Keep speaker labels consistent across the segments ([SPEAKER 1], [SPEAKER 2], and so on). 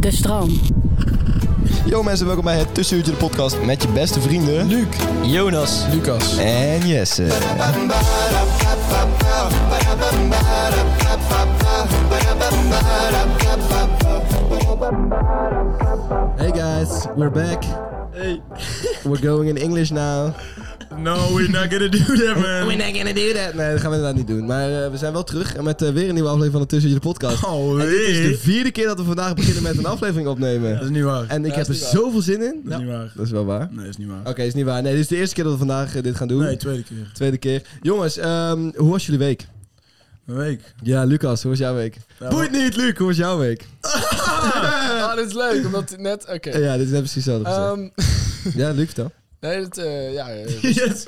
[SPEAKER 1] De stroom.
[SPEAKER 2] Yo mensen, welkom bij het Tussenuurtje de podcast met je beste vrienden... Luc, Jonas, Lucas en Jesse. Hey guys, we're back.
[SPEAKER 3] Hey.
[SPEAKER 2] We're going in English now.
[SPEAKER 3] No, we're not gonna do that, man.
[SPEAKER 2] We're not gonna do that. Nee, dat gaan we inderdaad niet doen. Maar eh, we zijn wel terug met eh, weer een nieuwe aflevering van het Tussenuurtje de podcast.
[SPEAKER 3] Alweer.
[SPEAKER 2] En dit is de vierde keer dat we vandaag beginnen met een aflevering opnemen.
[SPEAKER 3] Dat is niet waar.
[SPEAKER 2] En ik
[SPEAKER 3] Ja,
[SPEAKER 2] heb
[SPEAKER 3] dat
[SPEAKER 2] er
[SPEAKER 3] is niet waar.
[SPEAKER 2] zoveel zin in.
[SPEAKER 3] Dat is niet waar.
[SPEAKER 2] Dat is wel waar.
[SPEAKER 3] Nee, dat is niet waar.
[SPEAKER 2] Oké, is niet waar. Nee, dit is de eerste keer dat we vandaag eh, dit gaan doen.
[SPEAKER 3] Nee, tweede keer.
[SPEAKER 2] Tweede keer. Jongens, ehm, hoe was jullie week?
[SPEAKER 3] Een week.
[SPEAKER 2] Ja, Lucas, hoe was jouw week? Boeit niet, Luc, hoe was jouw week?
[SPEAKER 4] Ah, dit is leuk, omdat het net... Oké.
[SPEAKER 2] Eh, ja, dit is net precies hetzelfde gezegd.
[SPEAKER 4] Ehm,
[SPEAKER 2] Ja, Luc, vertel.
[SPEAKER 4] nee, dat... eh, ja, eh,
[SPEAKER 3] Yes,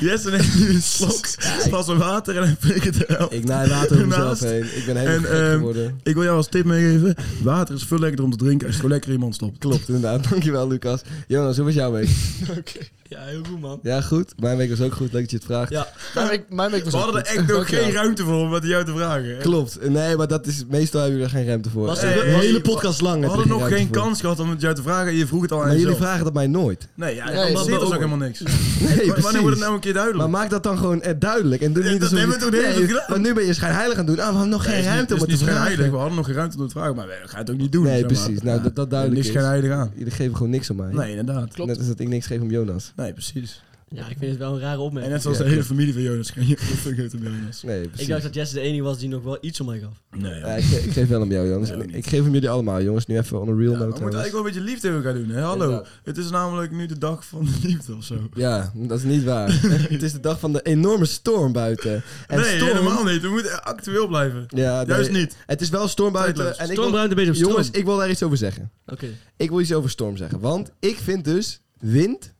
[SPEAKER 3] Jesse neemt nu een slok van zijn water en hij prikt het eraf.
[SPEAKER 2] Ik naai water over mezelf
[SPEAKER 3] Naast.
[SPEAKER 2] heen. Ik ben helemaal
[SPEAKER 3] En
[SPEAKER 2] gek
[SPEAKER 3] ehm,
[SPEAKER 2] geworden.
[SPEAKER 3] ik wil jou als tip meegeven, water is veel lekkerder om te drinken als je het gewoon lekker in je mond stopt.
[SPEAKER 2] Klopt, inderdaad. Dankjewel, Lucas. Jonas, hoe was jouw week?
[SPEAKER 4] Oké.
[SPEAKER 3] Ja, heel goed man.
[SPEAKER 2] Ja, goed. Mijn week was ook goed. Leuk dat je het vraagt.
[SPEAKER 3] Ja.
[SPEAKER 4] Mijn week- Mijn week was
[SPEAKER 3] We
[SPEAKER 4] ook
[SPEAKER 3] hadden er
[SPEAKER 4] goed.
[SPEAKER 3] echt nog
[SPEAKER 4] Dankjewel.
[SPEAKER 3] geen ruimte voor om met jou te vragen.
[SPEAKER 2] Klopt. Nee, maar dat is... Meestal hebben jullie er geen ruimte voor.
[SPEAKER 3] Was
[SPEAKER 2] Eh,
[SPEAKER 3] er-
[SPEAKER 2] de hele
[SPEAKER 3] hey,
[SPEAKER 2] podcast lang.
[SPEAKER 3] We
[SPEAKER 2] heb je
[SPEAKER 3] hadden nog
[SPEAKER 2] ruimte
[SPEAKER 3] geen
[SPEAKER 2] voor.
[SPEAKER 3] kans gehad om het jou te vragen en je vroeg het al aan
[SPEAKER 2] Maar jullie
[SPEAKER 3] jezelf.
[SPEAKER 2] vragen dat mij nooit.
[SPEAKER 3] Nee, ja,
[SPEAKER 4] Nee,
[SPEAKER 3] dan
[SPEAKER 4] dat
[SPEAKER 3] zit
[SPEAKER 4] ook
[SPEAKER 3] er ook helemaal niks. Wanneer
[SPEAKER 2] precies.
[SPEAKER 3] wordt het nou een keer duidelijk?
[SPEAKER 2] Maar maak dat dan gewoon eh, duidelijk. En doe
[SPEAKER 3] Ja,
[SPEAKER 2] niet
[SPEAKER 3] dat
[SPEAKER 2] alsof
[SPEAKER 3] hebben
[SPEAKER 2] je-
[SPEAKER 3] we toch de hele
[SPEAKER 2] Nee,
[SPEAKER 3] tijd gedaan?
[SPEAKER 2] Want nu ben je schijnheilig aan het doen. Ah, we hadden nog geen
[SPEAKER 3] Nee,
[SPEAKER 2] ruimte om
[SPEAKER 3] is
[SPEAKER 2] het
[SPEAKER 3] niet-
[SPEAKER 2] te
[SPEAKER 3] is niet
[SPEAKER 2] vragen.
[SPEAKER 3] schijnheilig. We hadden nog geen ruimte om het te vragen, maar we gaan het ook niet doen.
[SPEAKER 2] Nee,
[SPEAKER 3] zeg maar.
[SPEAKER 2] precies. Nou, dat- dat duidelijk
[SPEAKER 3] Niks
[SPEAKER 2] is.
[SPEAKER 3] schijnheilig aan.
[SPEAKER 2] Jullie geven gewoon niks om mij.
[SPEAKER 3] Nee, inderdaad.
[SPEAKER 2] Net als dat ik niks geef om Jonas.
[SPEAKER 3] Nee, precies.
[SPEAKER 5] Ja, ik vind het wel een rare
[SPEAKER 3] En
[SPEAKER 5] opmerking.
[SPEAKER 3] net zoals
[SPEAKER 2] Ja,
[SPEAKER 3] de hele familie van Jonas. Geen fuck uit om Jonas.
[SPEAKER 2] Nee, precies.
[SPEAKER 5] ik dacht dat Jesse de enige was die nog wel iets om mij gaf.
[SPEAKER 3] Nee,
[SPEAKER 2] Ja,
[SPEAKER 3] ja.
[SPEAKER 2] ik, ge- ik geef wel om jou, Jonas.
[SPEAKER 3] Ja,
[SPEAKER 2] En
[SPEAKER 3] niet.
[SPEAKER 2] ik geef hem jullie allemaal, jongens. Nu even on a real
[SPEAKER 3] We
[SPEAKER 2] note.
[SPEAKER 3] moeten eigenlijk wel
[SPEAKER 2] trouwens.
[SPEAKER 3] een beetje liefde hebben gaan doen. Hè? Hallo.
[SPEAKER 2] Inderdaad.
[SPEAKER 3] Het is namelijk nu de dag van de liefde of zo.
[SPEAKER 2] Ja, dat is niet waar. het is de dag van de enorme storm buiten. En
[SPEAKER 3] nee,
[SPEAKER 2] storm...
[SPEAKER 3] helemaal niet. We moeten actueel blijven.
[SPEAKER 2] Ja, nee.
[SPEAKER 3] Juist niet.
[SPEAKER 2] Het is wel storm buiten.
[SPEAKER 3] Tijdloos.
[SPEAKER 2] En ik
[SPEAKER 5] Storm
[SPEAKER 2] wil-
[SPEAKER 5] ruimt een beetje op stroom.
[SPEAKER 2] Jongens, ik wil daar iets over zeggen.
[SPEAKER 5] Oké.
[SPEAKER 2] Ik wil iets over storm zeggen. Want ik vind dus wind,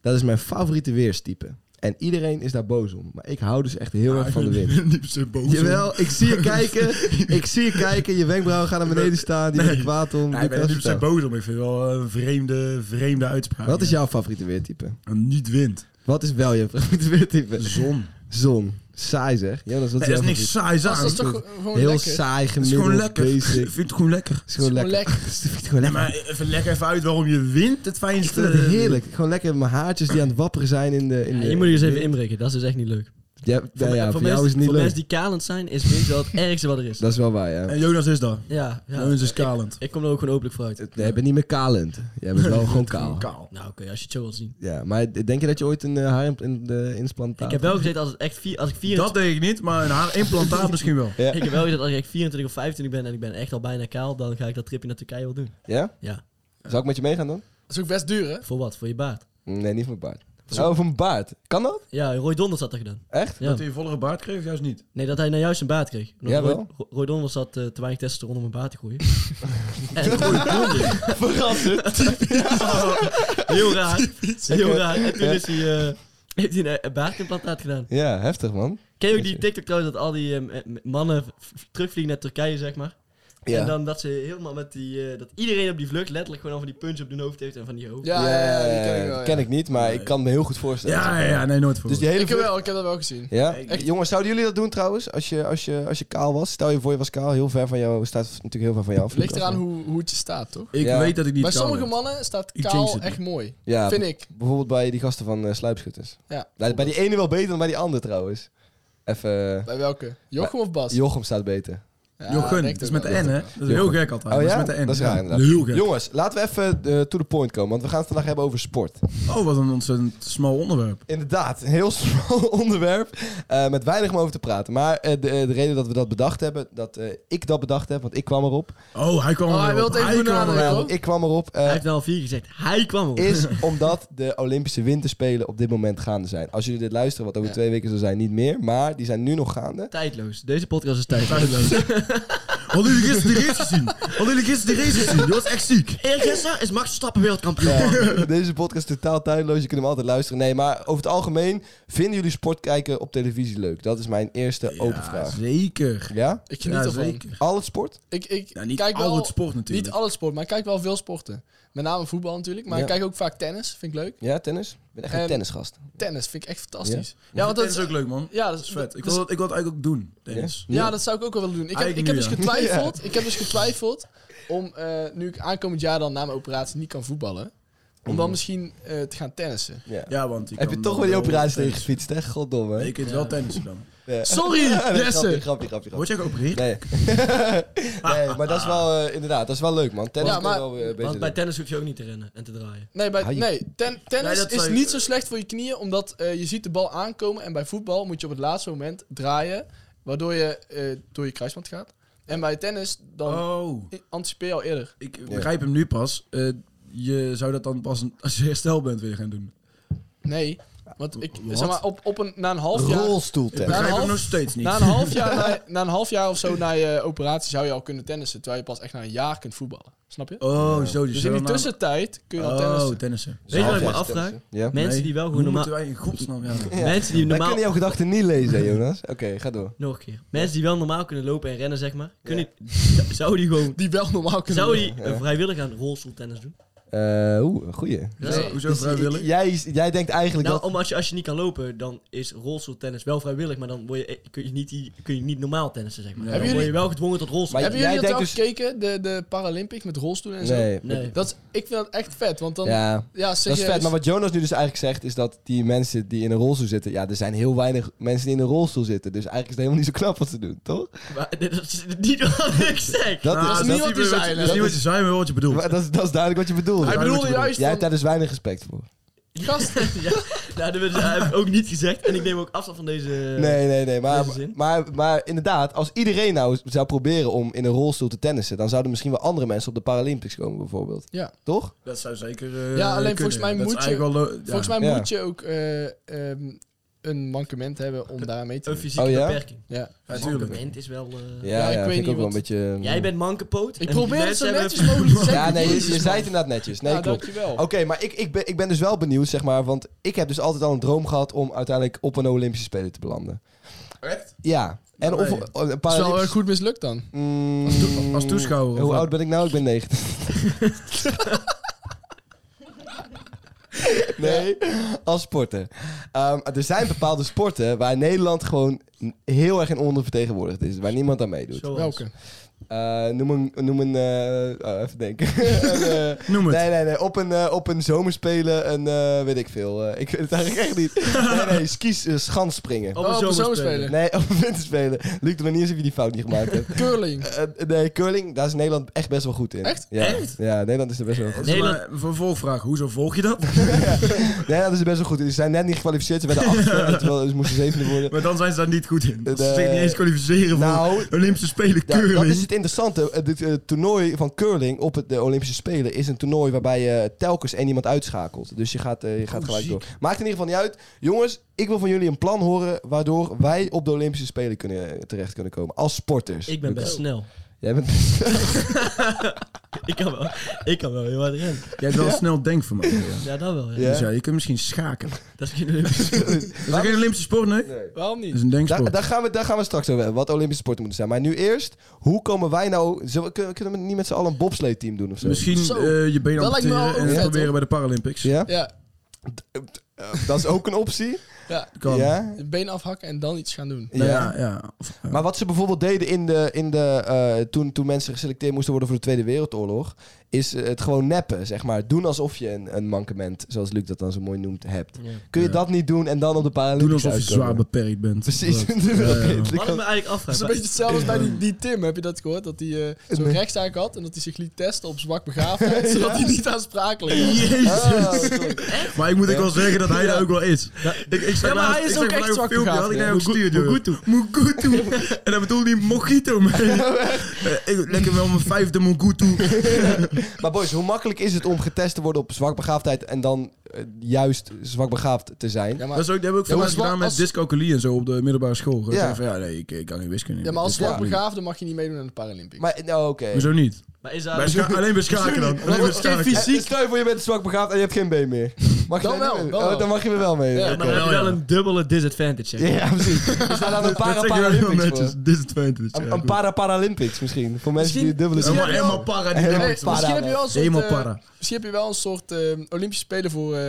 [SPEAKER 2] dat is mijn favoriete weerstype. En iedereen is daar boos om. Maar ik hou dus echt heel
[SPEAKER 3] Ja,
[SPEAKER 2] erg van de
[SPEAKER 3] Nou, ik ben
[SPEAKER 2] wind.
[SPEAKER 3] diep zo boos om.
[SPEAKER 2] Jawel, ik zie je kijken. Ik zie je kijken. Je wenkbrauwen gaan naar beneden staan. Die ben
[SPEAKER 3] Nee.
[SPEAKER 2] ik kwaad om.
[SPEAKER 3] Ja, ik ben er
[SPEAKER 2] Lucas,
[SPEAKER 3] diep zo
[SPEAKER 2] vertel.
[SPEAKER 3] boos om. Ik vind het wel een vreemde, vreemde uitspraak.
[SPEAKER 2] Wat is
[SPEAKER 3] ja.
[SPEAKER 2] jouw favoriete weertype?
[SPEAKER 3] Een Niet wind.
[SPEAKER 2] Wat is wel je favoriete weertype?
[SPEAKER 3] Zon.
[SPEAKER 2] Zon. Saai zeg. Jonas, wat
[SPEAKER 3] Er
[SPEAKER 2] is
[SPEAKER 3] is
[SPEAKER 2] jouw
[SPEAKER 3] niks
[SPEAKER 2] favoriet?
[SPEAKER 3] saais aan.
[SPEAKER 4] Dat is
[SPEAKER 3] Het
[SPEAKER 4] toch gewoon
[SPEAKER 2] Heel
[SPEAKER 4] lekker?
[SPEAKER 2] saai,
[SPEAKER 3] is
[SPEAKER 2] gemiddeld,
[SPEAKER 3] gewoon lekker. Ik
[SPEAKER 2] basic.
[SPEAKER 3] vind het gewoon lekker.
[SPEAKER 2] Het is gewoon
[SPEAKER 4] Het is gewoon
[SPEAKER 2] lekker.
[SPEAKER 4] lekker.
[SPEAKER 2] Het is gewoon
[SPEAKER 3] Nee,
[SPEAKER 2] lekker.
[SPEAKER 3] maar eh, even lekker even uit waarom je wint het
[SPEAKER 2] Ik
[SPEAKER 3] fijnste.
[SPEAKER 2] vind het heerlijk. Gewoon lekker mijn haartjes die aan het wapperen zijn in de... In
[SPEAKER 5] Ja,
[SPEAKER 2] de
[SPEAKER 5] je moet hier eens even inbreken. Dat is dus echt niet leuk.
[SPEAKER 2] Ja, nou ja, voor,
[SPEAKER 5] me-
[SPEAKER 2] jou
[SPEAKER 5] mensen,
[SPEAKER 2] is het niet
[SPEAKER 5] voor
[SPEAKER 2] leuk.
[SPEAKER 5] mensen die kalend zijn, is wind wel het ergste wat er is.
[SPEAKER 2] Dat dus is wel waar, ja.
[SPEAKER 3] En Jonas is daar.
[SPEAKER 5] Ja, ja.
[SPEAKER 3] Jonas is
[SPEAKER 5] Ik-
[SPEAKER 3] kalend.
[SPEAKER 5] Ik, kom er ook gewoon openlijk voor uit.
[SPEAKER 2] Nee, je bent niet meer kalend. Jij bent wel gewoon kaal.
[SPEAKER 3] Kaal.
[SPEAKER 5] Nou oké, als je het zo wilt zien.
[SPEAKER 2] Ja, maar denk je dat je ooit een eh, haar in de
[SPEAKER 5] Ik
[SPEAKER 2] insplantaat...
[SPEAKER 5] heb wel gezeten als, het echt vier, als ik vier...
[SPEAKER 3] Dat denk ik niet, maar een haar implantaat misschien wel.
[SPEAKER 2] Ja?
[SPEAKER 5] Ik heb wel gezegd als ik echt 24 of 25 ben en ik ben echt al bijna kaal, dan ga ik dat tripje naar Turkije wel doen.
[SPEAKER 2] ja?
[SPEAKER 5] Ja.
[SPEAKER 2] Zou ik met je meegaan dan?
[SPEAKER 4] Dat is ook best duur, hè?
[SPEAKER 5] Voor wat? Voor je baard.
[SPEAKER 2] Nee, niet voor mijn baard. Oh, voor mijn baard. Kan dat?
[SPEAKER 5] Ja, Roy Donders had dat gedaan.
[SPEAKER 2] Echt?
[SPEAKER 5] Ja.
[SPEAKER 3] Dat hij een vollere baard kreeg, juist niet.
[SPEAKER 5] Nee, dat hij nou juist een baard kreeg. Omdat
[SPEAKER 2] Jawel.
[SPEAKER 5] Roy, Ro- Roy Donders had eh, te weinig testosteron om een baard te groeien. en Roy Donders... Heel raar. Heel raar. En toen is hij, eh, heeft hij een, een baardimplantaat gedaan.
[SPEAKER 2] Ja, heftig man.
[SPEAKER 5] Ken je ook die TikTok trouwens dat al die eh, m- mannen v- v- terugvliegen naar Turkije, zeg maar?
[SPEAKER 2] Ja.
[SPEAKER 5] En dan dat ze helemaal met die... eh, dat iedereen op die vlucht letterlijk gewoon al van die punch op hun hoofd heeft en van die hoofd.
[SPEAKER 4] Ja, ja, ja, die ken ik wel. ja.
[SPEAKER 2] ik niet, maar ik kan me heel goed voorstellen.
[SPEAKER 3] Ja, ja, ja, nee, nooit voor.
[SPEAKER 2] Dus die hele
[SPEAKER 4] Ik heb
[SPEAKER 2] vlucht-
[SPEAKER 4] wel, ik heb dat wel gezien.
[SPEAKER 2] Ja? Jongens, zouden jullie dat doen trouwens? Als je, als, je, als je kaal was? Stel je voor je was kaal, heel ver van jou, staat natuurlijk heel ver van jou af.
[SPEAKER 4] Ligt eraan hoe, hoe het je staat, toch?
[SPEAKER 3] ik
[SPEAKER 2] Ja.
[SPEAKER 3] weet dat ik niet
[SPEAKER 4] Bij
[SPEAKER 3] kaal
[SPEAKER 4] sommige
[SPEAKER 3] ben.
[SPEAKER 4] mannen staat
[SPEAKER 3] Ik jinx
[SPEAKER 4] kaal
[SPEAKER 3] het
[SPEAKER 4] echt mooi.
[SPEAKER 2] Ja,
[SPEAKER 4] Vind ik.
[SPEAKER 2] bijvoorbeeld bij die gasten van eh, Sluipschutters.
[SPEAKER 4] Ja.
[SPEAKER 2] Bij, bij die ene wel beter dan bij die andere trouwens. Even...
[SPEAKER 4] Bij welke? Jochem of Bas?
[SPEAKER 2] Jochem staat beter.
[SPEAKER 3] Jochun,
[SPEAKER 4] denk
[SPEAKER 3] dat is
[SPEAKER 4] ik
[SPEAKER 3] met de
[SPEAKER 4] wel.
[SPEAKER 3] N, hè? Dat is heel
[SPEAKER 2] Jochun.
[SPEAKER 3] gek altijd.
[SPEAKER 2] Oh ja?
[SPEAKER 3] Dat is met de N.
[SPEAKER 2] Dat is raar
[SPEAKER 3] Ja,
[SPEAKER 2] inderdaad.
[SPEAKER 3] Heel gek.
[SPEAKER 2] Jongens, laten we even eh, to the point komen, want we gaan het vandaag hebben over sport.
[SPEAKER 3] Oh, wat een ontzettend smal onderwerp.
[SPEAKER 2] Inderdaad, een heel smal onderwerp eh, met weinig om over te praten. Maar eh, de, de reden dat we dat bedacht hebben, dat eh, ik dat bedacht heb, want ik kwam erop.
[SPEAKER 3] Oh, hij kwam
[SPEAKER 4] Oh, hij
[SPEAKER 3] erop.
[SPEAKER 4] wil het even
[SPEAKER 3] kwam
[SPEAKER 4] benadrukken,
[SPEAKER 3] erop.
[SPEAKER 4] hoor.
[SPEAKER 2] Ik kwam erop. eh,
[SPEAKER 5] Hij heeft al vier gezegd. Hij kwam op.
[SPEAKER 2] is omdat de Olympische Winterspelen op dit moment gaande zijn. Als jullie dit luisteren, wat over twee weken zal zijn, niet meer. Maar die zijn nu nog gaande.
[SPEAKER 5] Tijdloos. Deze podcast is tijdloos.
[SPEAKER 3] Tijdloos. Hadden jullie gisteren de race gezien? Hadden jullie gisteren de race gezien? Dat was echt ziek.
[SPEAKER 5] Eergisteren is Max Stappen wereldkampioen.
[SPEAKER 2] Deze podcast is totaal tijdloos. Je kunt hem altijd luisteren. Nee, maar over het algemeen vinden jullie sport kijken op televisie leuk? Dat is mijn eerste open vraag.
[SPEAKER 3] Zeker.
[SPEAKER 2] Ja?
[SPEAKER 4] Ik
[SPEAKER 3] Ja,
[SPEAKER 4] geniet ervan.
[SPEAKER 3] zeker.
[SPEAKER 2] Al het sport?
[SPEAKER 4] Ik, ik
[SPEAKER 3] Ja, niet
[SPEAKER 4] kijk
[SPEAKER 3] al
[SPEAKER 4] wel,
[SPEAKER 3] het sport natuurlijk.
[SPEAKER 4] Niet al het sport, maar ik kijk wel veel sporten. Met name voetbal natuurlijk, maar
[SPEAKER 2] Ja.
[SPEAKER 4] ik kijk ook vaak tennis, vind ik leuk.
[SPEAKER 2] Ja, tennis? Ik ben echt een
[SPEAKER 4] Ehm,
[SPEAKER 2] tennisgast.
[SPEAKER 4] Tennis vind ik echt fantastisch. Ja,
[SPEAKER 3] Ja, want dat is
[SPEAKER 4] dat,
[SPEAKER 3] ook leuk, man.
[SPEAKER 4] ja,
[SPEAKER 3] dat is vet. Ik
[SPEAKER 4] dat
[SPEAKER 3] wil dat, ik wil dat eigenlijk ook doen, tennis.
[SPEAKER 4] Ja, dat zou ik ook wel willen doen. Ik heb, ik heb
[SPEAKER 3] Eigenlijk
[SPEAKER 4] dus
[SPEAKER 3] nu,
[SPEAKER 4] getwijfeld, ik heb dus getwijfeld om, eh, nu ik aankomend jaar dan na mijn operatie niet kan voetballen, om dan misschien eh, te gaan tennissen.
[SPEAKER 2] Ja.
[SPEAKER 3] Ja, eh, want
[SPEAKER 2] Heb je toch wel die operatie tegen gefietst, hè? Goddomme.
[SPEAKER 3] Nee, je kunt wel tennissen dan.
[SPEAKER 4] Sorry,
[SPEAKER 2] nee,
[SPEAKER 4] Jesse!
[SPEAKER 2] grapje,
[SPEAKER 5] eh,
[SPEAKER 2] grapje, grapje,
[SPEAKER 3] Word
[SPEAKER 2] grapje.
[SPEAKER 3] jij geopereerd?
[SPEAKER 2] Nee. nee, maar dat is wel, eh, inderdaad, dat is wel leuk, man. Tennis
[SPEAKER 4] Ja,
[SPEAKER 2] kun je
[SPEAKER 4] maar-
[SPEAKER 2] wel eh, beter
[SPEAKER 5] Want bij
[SPEAKER 2] doen.
[SPEAKER 5] tennis hoef je ook niet te rennen en te draaien.
[SPEAKER 4] Nee,
[SPEAKER 2] Ah,
[SPEAKER 4] bij,
[SPEAKER 2] je-
[SPEAKER 4] nee ten-
[SPEAKER 3] Nee,
[SPEAKER 4] tennis
[SPEAKER 3] dat
[SPEAKER 4] is
[SPEAKER 3] zou je-
[SPEAKER 4] niet zo slecht voor je knieën, omdat eh, je ziet de bal aankomen. En bij voetbal moet je op het laatste moment draaien, waardoor je eh, door je kruisband gaat. En bij tennis, dan
[SPEAKER 3] Oh,
[SPEAKER 4] i- anticipeer je al eerder.
[SPEAKER 3] ik begrijp hem nu pas. Eh, je zou dat dan pas een- als je herstel bent weer gaan doen.
[SPEAKER 4] Nee, want ik,
[SPEAKER 3] Wat?
[SPEAKER 4] zeg maar, op, op een, na een half jaar...
[SPEAKER 3] Ik
[SPEAKER 2] Rolstoeltennis.
[SPEAKER 4] een
[SPEAKER 3] begrijp hem
[SPEAKER 4] half-
[SPEAKER 3] nog steeds niet.
[SPEAKER 4] Na een, half jaar, na, na een half jaar of zo na je operatie zou je al kunnen tennissen. Terwijl je pas echt na een jaar kunt voetballen. Snap je?
[SPEAKER 3] Oh, zo. Dus
[SPEAKER 4] dus in die tussentijd kun je al
[SPEAKER 3] Oh,
[SPEAKER 4] tennissen.
[SPEAKER 3] tennissen.
[SPEAKER 5] Weet je wat ik me
[SPEAKER 2] Halfjaars
[SPEAKER 5] afvraag?
[SPEAKER 2] tennissen. dus, Ja.
[SPEAKER 5] Mensen
[SPEAKER 3] Nee,
[SPEAKER 5] die wel
[SPEAKER 3] Hoe
[SPEAKER 5] gewoon normaal...
[SPEAKER 3] moeten wij in godsnaam... Ja.
[SPEAKER 5] Mensen
[SPEAKER 2] Wij
[SPEAKER 5] die normaal...
[SPEAKER 2] kunnen jouw gedachten niet lezen, Jonas. Oké, ga door.
[SPEAKER 5] Nog een keer. Mensen die wel normaal kunnen lopen en rennen, zeg maar. Kunnen, z- Zou die gewoon...
[SPEAKER 4] Die wel normaal kunnen
[SPEAKER 5] Zou die eh, vrijwillig aan rolstoeltennis doen?
[SPEAKER 2] Eh, Oeh, goeie.
[SPEAKER 3] Hoezo- Hoezo vrijwillig?
[SPEAKER 2] dus Jij, jij denkt eigenlijk
[SPEAKER 5] Nou,
[SPEAKER 2] dat...
[SPEAKER 5] om als, je, als je niet kan lopen, dan is rolstoeltennis wel vrijwillig, maar dan word je, eh, kun, je niet, die- kun je niet normaal tennissen, zeg maar.
[SPEAKER 3] Nee.
[SPEAKER 5] Dan word je
[SPEAKER 4] Hebben
[SPEAKER 5] wel gedwongen tot rolstoel.
[SPEAKER 2] Maar
[SPEAKER 4] Hebben
[SPEAKER 2] jij
[SPEAKER 4] jullie dat
[SPEAKER 2] denkt
[SPEAKER 4] al
[SPEAKER 2] dus-
[SPEAKER 4] gekeken? De, de Paralympics met rolstoelen en
[SPEAKER 2] Nee.
[SPEAKER 4] zo?
[SPEAKER 5] Nee.
[SPEAKER 4] Dat is, ik vind dat echt vet, want dan...
[SPEAKER 2] Ja,
[SPEAKER 4] Ja,
[SPEAKER 2] dat is
[SPEAKER 4] serieus.
[SPEAKER 2] vet. Maar wat Jonas nu dus eigenlijk zegt, is dat die mensen die in een rolstoel zitten... Ja, er zijn heel weinig mensen die in een rolstoel zitten. Dus eigenlijk is het helemaal niet zo knap wat ze doen, toch?
[SPEAKER 5] Maar dit is niet wat ik zeg.
[SPEAKER 2] Dat,
[SPEAKER 3] Ah,
[SPEAKER 2] is,
[SPEAKER 4] niet wat hij zei,
[SPEAKER 3] Dat
[SPEAKER 4] hè?
[SPEAKER 3] is niet
[SPEAKER 4] Dat
[SPEAKER 3] wat je zei, maar wat je bedoelt.
[SPEAKER 2] maar dat, is, dat is duidelijk wat je bedoelt.
[SPEAKER 4] Hij
[SPEAKER 3] Ja,
[SPEAKER 4] bedoelde
[SPEAKER 3] dat bedoel
[SPEAKER 4] juist
[SPEAKER 2] Jij
[SPEAKER 4] van...
[SPEAKER 2] hebt daar dus weinig respect voor.
[SPEAKER 4] Gast,
[SPEAKER 5] ja, nou, dat heb ik ook niet gezegd. En ik neem ook afstand van deze... eh,
[SPEAKER 2] Nee, nee, nee. Maar,
[SPEAKER 5] deze zin.
[SPEAKER 2] maar, maar inderdaad, als iedereen nou zou proberen om in een rolstoel te tennissen... dan zouden misschien wel andere mensen op de Paralympics komen, bijvoorbeeld.
[SPEAKER 4] Ja.
[SPEAKER 2] Toch?
[SPEAKER 3] Dat zou zeker. eh,
[SPEAKER 4] Ja, alleen
[SPEAKER 3] kunnen.
[SPEAKER 4] volgens mij
[SPEAKER 3] Dat is
[SPEAKER 4] moet je-
[SPEAKER 3] eigenlijk wel lo- ja.
[SPEAKER 4] volgens mij
[SPEAKER 2] Ja.
[SPEAKER 4] moet je ook eh, ehm, een mankement hebben om daar aan mee te
[SPEAKER 5] Een
[SPEAKER 4] doen.
[SPEAKER 5] fysieke
[SPEAKER 2] Oh, ja?
[SPEAKER 5] beperking.
[SPEAKER 4] Ja.
[SPEAKER 3] Ja, tuurlijk.
[SPEAKER 5] Mankement is wel... eh,
[SPEAKER 2] Ja,
[SPEAKER 4] Ja, ik
[SPEAKER 2] ja,
[SPEAKER 4] weet
[SPEAKER 2] vind ik ook
[SPEAKER 4] niet
[SPEAKER 2] wel een
[SPEAKER 4] wat-
[SPEAKER 2] beetje... hmm.
[SPEAKER 5] Jij bent mankenpoot.
[SPEAKER 4] Ik
[SPEAKER 5] en
[SPEAKER 4] probeer
[SPEAKER 5] die
[SPEAKER 4] het zo
[SPEAKER 5] mensen
[SPEAKER 4] netjes
[SPEAKER 5] hebben-
[SPEAKER 4] mogelijk
[SPEAKER 2] Ja,
[SPEAKER 4] te zeggen.
[SPEAKER 2] nee, je, je
[SPEAKER 4] Jezus,
[SPEAKER 2] zei
[SPEAKER 4] man.
[SPEAKER 2] het inderdaad netjes. Nee,
[SPEAKER 4] Ja,
[SPEAKER 2] klopt.
[SPEAKER 4] dankjewel.
[SPEAKER 2] Oké, maar ik, ik, ben, ik ben dus wel benieuwd, zeg maar. Want ik heb dus altijd al een droom gehad om uiteindelijk op een Olympische Spelen te belanden.
[SPEAKER 3] Echt?
[SPEAKER 2] Ja. En of,
[SPEAKER 3] Nee.
[SPEAKER 2] of- een
[SPEAKER 4] Het is wel
[SPEAKER 2] Paralympische-
[SPEAKER 4] eh, goed mislukt dan.
[SPEAKER 2] Mm,
[SPEAKER 3] to- als toeschouwer, of
[SPEAKER 2] Hoe
[SPEAKER 3] wat?
[SPEAKER 2] oud ben ik nou? Ik ben 90. nee, als sporter. Ehm, er zijn bepaalde sporten waar Nederland gewoon heel erg in ondervertegenwoordigd is. Waar niemand aan meedoet.
[SPEAKER 5] Zoals-
[SPEAKER 4] Welke?
[SPEAKER 2] Eh, noem een... Noem een eh, oh, even denken. Een, eh,
[SPEAKER 3] Noem het.
[SPEAKER 2] Nee, nee, nee. Op een, eh, op een zomerspelen, een eh, weet ik veel. eh, ik weet het eigenlijk echt niet. Nee, nee, skis, eh, schansspringen.
[SPEAKER 5] Op
[SPEAKER 4] Oh,
[SPEAKER 5] een
[SPEAKER 4] op een
[SPEAKER 5] zomerspelen.
[SPEAKER 4] zomerspelen.
[SPEAKER 2] Nee, op een winterspelen. Luc, de manier is of je die fout niet gemaakt hebt.
[SPEAKER 4] Curling.
[SPEAKER 2] Eh, nee, curling, daar is Nederland echt best wel goed in.
[SPEAKER 4] Echt?
[SPEAKER 2] Ja, ja Nederland is er best wel goed in.
[SPEAKER 3] Nee,
[SPEAKER 5] Nederland-
[SPEAKER 3] maar een vervolgvraag. Hoezo volg je dat?
[SPEAKER 2] Nederland is er best wel goed in. Ze zijn net niet gekwalificeerd, ze werden achter. en terwijl ze moesten zevende worden.
[SPEAKER 3] maar dan zijn ze daar niet goed in. Ze
[SPEAKER 2] De-
[SPEAKER 3] zich niet eens kwalificeren
[SPEAKER 2] Nou,
[SPEAKER 3] voor Olympische Spelen
[SPEAKER 2] Ja,
[SPEAKER 3] curling.
[SPEAKER 2] dat is het interessante. Het, eh, toernooi van curling op het, de Olympische Spelen is een toernooi waarbij je telkens één iemand uitschakelt. Dus je gaat, eh, je gaat
[SPEAKER 3] Oh,
[SPEAKER 2] gelijk
[SPEAKER 3] ziek.
[SPEAKER 2] door. Maakt in ieder geval niet uit. Jongens, ik wil van jullie een plan horen waardoor wij op de Olympische Spelen kunnen, eh, terecht kunnen komen. Als sporters.
[SPEAKER 5] Ik ben
[SPEAKER 2] Lucas.
[SPEAKER 5] best snel.
[SPEAKER 2] Jij bent
[SPEAKER 5] Ik kan wel, ik kan wel heel hard rennen.
[SPEAKER 3] Jij hebt wel snel denkvermogen. Ja.
[SPEAKER 5] Ja, dat wel. Ja.
[SPEAKER 2] Ja.
[SPEAKER 3] Dus ja, je kunt misschien schaken.
[SPEAKER 5] Dat is geen Olympische sport.
[SPEAKER 3] Dat is ook geen Olympische sport, nee?
[SPEAKER 4] Waarom
[SPEAKER 3] Dat is
[SPEAKER 4] niet?
[SPEAKER 3] een
[SPEAKER 2] Daar,
[SPEAKER 3] denksport.
[SPEAKER 2] daar, gaan we, daar gaan we straks over hebben, wat Olympische sporten moeten zijn. Maar nu eerst, hoe komen wij nou... zullen we- kunnen, kunnen we niet met z'n allen een bobsleeteam doen of zo?
[SPEAKER 3] Misschien
[SPEAKER 4] Zo.
[SPEAKER 3] eh, je benen
[SPEAKER 4] Dat lijkt me
[SPEAKER 3] amputeren
[SPEAKER 4] wel
[SPEAKER 3] en
[SPEAKER 4] vet,
[SPEAKER 3] proberen
[SPEAKER 4] hoor.
[SPEAKER 3] bij de Paralympics.
[SPEAKER 2] Ja?
[SPEAKER 4] Ja.
[SPEAKER 2] Eh, Dat is ook een optie.
[SPEAKER 4] Ja,
[SPEAKER 6] Kan.
[SPEAKER 3] Nou
[SPEAKER 2] Ja.
[SPEAKER 4] het been afhakken en dan iets gaan doen.
[SPEAKER 6] Nou
[SPEAKER 2] ja.
[SPEAKER 6] ja, ja. Of, ja.
[SPEAKER 2] Maar wat ze bijvoorbeeld deden in de, in de, eh, toen, toen mensen geselecteerd moesten worden voor de Tweede Wereldoorlog, is eh, het gewoon neppen, zeg maar. Doen alsof je een, een mankement, zoals Luc dat dan zo mooi noemt, hebt. Kun je
[SPEAKER 6] Ja.
[SPEAKER 2] dat niet doen en dan op de
[SPEAKER 6] Doe
[SPEAKER 2] Paralympische
[SPEAKER 6] alsof je zwaar beperkt bent.
[SPEAKER 2] Precies. dus
[SPEAKER 6] Dat-
[SPEAKER 2] Dat
[SPEAKER 5] Wat ik
[SPEAKER 2] kan-
[SPEAKER 5] me eigenlijk afvraag.
[SPEAKER 4] Dat is een beetje hetzelfde als bij die, die Tim, heb je dat gehoord? Dat hij eh, zo'n
[SPEAKER 2] Nee.
[SPEAKER 4] rechtszaak had en dat hij zich liet testen op zwak begaafdheid, zodat hij niet aansprakelijk was.
[SPEAKER 6] Jezus.
[SPEAKER 2] Oh,
[SPEAKER 6] maar ik moet ook wel zeggen dat hij daar ook wel is. Ik, ik
[SPEAKER 4] Ja, maar hij is ook echt zwak
[SPEAKER 6] filmpje had
[SPEAKER 4] begaafd,
[SPEAKER 6] ik
[SPEAKER 4] hè?
[SPEAKER 6] naar jou gestuurd, joh. Mogutu. En dan bedoelde hij Mojito, man. Eh, ik- Lekker wel mijn vijfde Mogutu.
[SPEAKER 2] Maar boys, hoe makkelijk is het om getest te worden op zwakbegaafdheid en dan eh, juist zwakbegaafd te zijn?
[SPEAKER 4] Ja,
[SPEAKER 6] Dat
[SPEAKER 4] maar,
[SPEAKER 6] is ook, dat hebben we ook veel
[SPEAKER 4] maar
[SPEAKER 6] mensen
[SPEAKER 4] als-
[SPEAKER 6] gedaan met
[SPEAKER 4] als-
[SPEAKER 6] dyscalculie en zo op de middelbare school. Dat
[SPEAKER 2] Ja.
[SPEAKER 6] zeggen van, ja, nee, ik, ik kan geen wiskunde.
[SPEAKER 4] ja, maar als
[SPEAKER 6] Ik-
[SPEAKER 4] zwak begaafde mag je niet meedoen aan de Paralympics.
[SPEAKER 2] Maar nou, oké.
[SPEAKER 6] Hoezo niet?
[SPEAKER 5] Maar is
[SPEAKER 6] Bij
[SPEAKER 5] dat...
[SPEAKER 6] scha- alleen bij schaken dan. Alleen bij schaken.
[SPEAKER 2] Eh, Stel je voor, je bent zwakbegaafd en je hebt geen been meer. Mag je daar
[SPEAKER 4] Dan wel,
[SPEAKER 2] niet mee?
[SPEAKER 4] dan
[SPEAKER 2] Oh,
[SPEAKER 4] wel.
[SPEAKER 2] dan mag je er wel mee.
[SPEAKER 4] Ja,
[SPEAKER 2] Ja,
[SPEAKER 5] Maar dan heb je wel een dubbele disadvantage. zeg.
[SPEAKER 2] precies. Dus daar dan
[SPEAKER 6] Dat zeg je wel
[SPEAKER 2] een
[SPEAKER 6] heel
[SPEAKER 2] para-Paralympics
[SPEAKER 6] netjes.
[SPEAKER 2] voor.
[SPEAKER 6] Disadvantage.
[SPEAKER 2] Een,
[SPEAKER 6] ja,
[SPEAKER 2] een
[SPEAKER 6] goed.
[SPEAKER 2] para-Paralympics misschien. Voor mensen die
[SPEAKER 4] Misschien-
[SPEAKER 2] een dubbele
[SPEAKER 6] Helemaal-
[SPEAKER 2] zin
[SPEAKER 6] Helemaal para. die
[SPEAKER 2] Hey,
[SPEAKER 6] helemaal-
[SPEAKER 4] Hey,
[SPEAKER 2] Para
[SPEAKER 4] misschien, heb je wel een soort,
[SPEAKER 6] Helemaal
[SPEAKER 4] eh,
[SPEAKER 6] para.
[SPEAKER 4] misschien heb je wel een soort eh, Olympische Spelen voor eh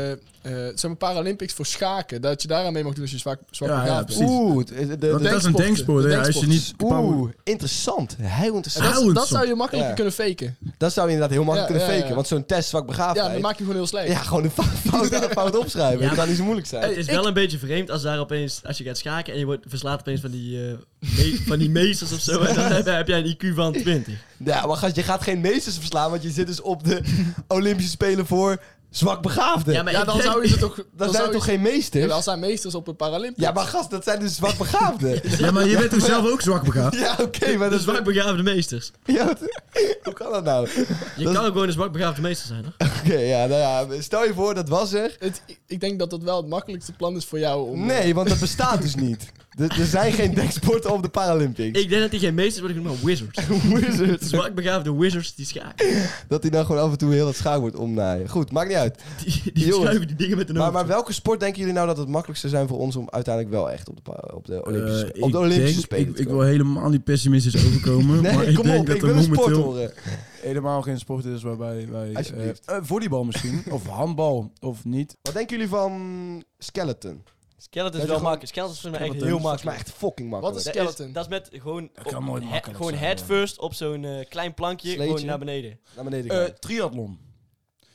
[SPEAKER 4] eh, zeg maar Paralympics voor schaken. Dat je daaraan mee mag doen als je zwak, zwak
[SPEAKER 6] Ja, ja,
[SPEAKER 4] begaafd bent.
[SPEAKER 6] precies.
[SPEAKER 2] Oeh, de- de- de-
[SPEAKER 6] Want dat is een denksport.
[SPEAKER 4] De
[SPEAKER 6] ja, Als je niet...
[SPEAKER 2] Oeh, interessant. Heel
[SPEAKER 4] En dat,
[SPEAKER 2] interessant.
[SPEAKER 4] is-
[SPEAKER 6] Oud,
[SPEAKER 4] dat zou je makkelijker
[SPEAKER 2] Ja.
[SPEAKER 4] kunnen faken.
[SPEAKER 2] Dat zou je inderdaad heel makkelijk
[SPEAKER 4] Ja,
[SPEAKER 2] kunnen
[SPEAKER 4] ja,
[SPEAKER 2] faken.
[SPEAKER 4] ja.
[SPEAKER 2] Want zo'n test
[SPEAKER 4] Ja, dan
[SPEAKER 2] zwakbegaafdheid...
[SPEAKER 4] maak je gewoon heel slecht.
[SPEAKER 2] Ja, gewoon de fout, fout, fout opschrijven.
[SPEAKER 5] Ja.
[SPEAKER 2] Dat kan niet zo moeilijk
[SPEAKER 5] Het
[SPEAKER 2] zijn.
[SPEAKER 5] is wel een beetje vreemd als daar opeens, als je gaat schaken en je wordt, verslaat opeens van die, eh, me- van die meesters of zo. En dan heb, heb jij een IQ van 20.
[SPEAKER 2] Ja, maar gast, je gaat geen meesters verslaan, want je zit dus op de Olympische Spelen voor zwakbegaafden.
[SPEAKER 5] maar
[SPEAKER 4] Ja,
[SPEAKER 5] ik
[SPEAKER 4] dan
[SPEAKER 5] denk-
[SPEAKER 4] zou je ze toch...
[SPEAKER 2] Dan zijn er toch geen
[SPEAKER 4] Ja,
[SPEAKER 2] meesters?
[SPEAKER 4] maar als zijn meesters op een Paralympics.
[SPEAKER 2] Ja, maar gast, dat zijn dus zwakbegaafden.
[SPEAKER 6] Ja, maar je bent toch zelf ook zwak begaafd?
[SPEAKER 2] ja, oké, maar
[SPEAKER 5] De
[SPEAKER 2] dat is...
[SPEAKER 5] zwakbegaafde meesters.
[SPEAKER 2] Ja, wat- hoe kan dat nou? Oké,
[SPEAKER 5] Je kan ook gewoon een zwakbegaafde meester zijn, hoor.
[SPEAKER 2] ja, nou ja, stel je voor, dat was er.
[SPEAKER 4] Het, ik- ik denk dat dat wel het makkelijkste plan is voor jou. Om, eh,
[SPEAKER 2] Nee, want dat bestaat dus niet. Er, er zijn geen deksporten op de Paralympics.
[SPEAKER 5] Ik denk dat die geen meesters worden genoemd, maar wizards.
[SPEAKER 2] Wizards.
[SPEAKER 5] Zwakbegaafde wizards die schaken.
[SPEAKER 2] Dat hij dan gewoon af en toe heel dat schaakwoord omnaaien. Goed, maakt niet uit.
[SPEAKER 5] Die, die
[SPEAKER 2] Jongens.
[SPEAKER 5] schuiven die dingen met een
[SPEAKER 2] Maar,
[SPEAKER 5] hoofd.
[SPEAKER 2] maar welke sport denken jullie nou dat het makkelijkst zou zijn voor ons om uiteindelijk wel echt op de, pa- op de Olympische,
[SPEAKER 6] Eh,
[SPEAKER 2] op de
[SPEAKER 6] ik
[SPEAKER 2] Olympische
[SPEAKER 6] denk-
[SPEAKER 2] Spelen
[SPEAKER 6] Ik,
[SPEAKER 2] te
[SPEAKER 6] ik wil
[SPEAKER 2] komen?
[SPEAKER 6] helemaal niet pessimistisch overkomen. maar
[SPEAKER 2] Nee,
[SPEAKER 6] ik
[SPEAKER 2] kom
[SPEAKER 6] denk
[SPEAKER 2] op,
[SPEAKER 6] dat
[SPEAKER 2] ik
[SPEAKER 6] er
[SPEAKER 2] wil een sport
[SPEAKER 6] momenteel-
[SPEAKER 2] horen.
[SPEAKER 3] helemaal geen sport is waarbij wij... eh
[SPEAKER 2] Alsjeblieft.
[SPEAKER 3] eh, volleybal misschien, of handbal, of niet.
[SPEAKER 2] Wat denken jullie van skeleton?
[SPEAKER 5] Skeleton
[SPEAKER 2] Dat
[SPEAKER 5] is
[SPEAKER 2] is
[SPEAKER 5] wel
[SPEAKER 2] gewoon-
[SPEAKER 5] makkelijk. Skeleton is voor mij echt
[SPEAKER 2] Dat
[SPEAKER 5] heel
[SPEAKER 2] is volgens mij
[SPEAKER 5] makkelijk.
[SPEAKER 2] echt fucking
[SPEAKER 4] Wat
[SPEAKER 2] makkelijk.
[SPEAKER 4] is
[SPEAKER 5] Dat
[SPEAKER 4] skeleton?
[SPEAKER 5] is, dat is met gewoon,
[SPEAKER 3] kan
[SPEAKER 5] op-
[SPEAKER 3] nooit
[SPEAKER 5] he-
[SPEAKER 3] makkelijk
[SPEAKER 5] gewoon
[SPEAKER 3] zijn,
[SPEAKER 5] head
[SPEAKER 3] man.
[SPEAKER 5] first op zo'n eh, klein plankje
[SPEAKER 2] Sleetje.
[SPEAKER 5] gewoon naar beneden.
[SPEAKER 2] Naar beneden
[SPEAKER 3] Eh
[SPEAKER 2] gaan.
[SPEAKER 3] triathlon.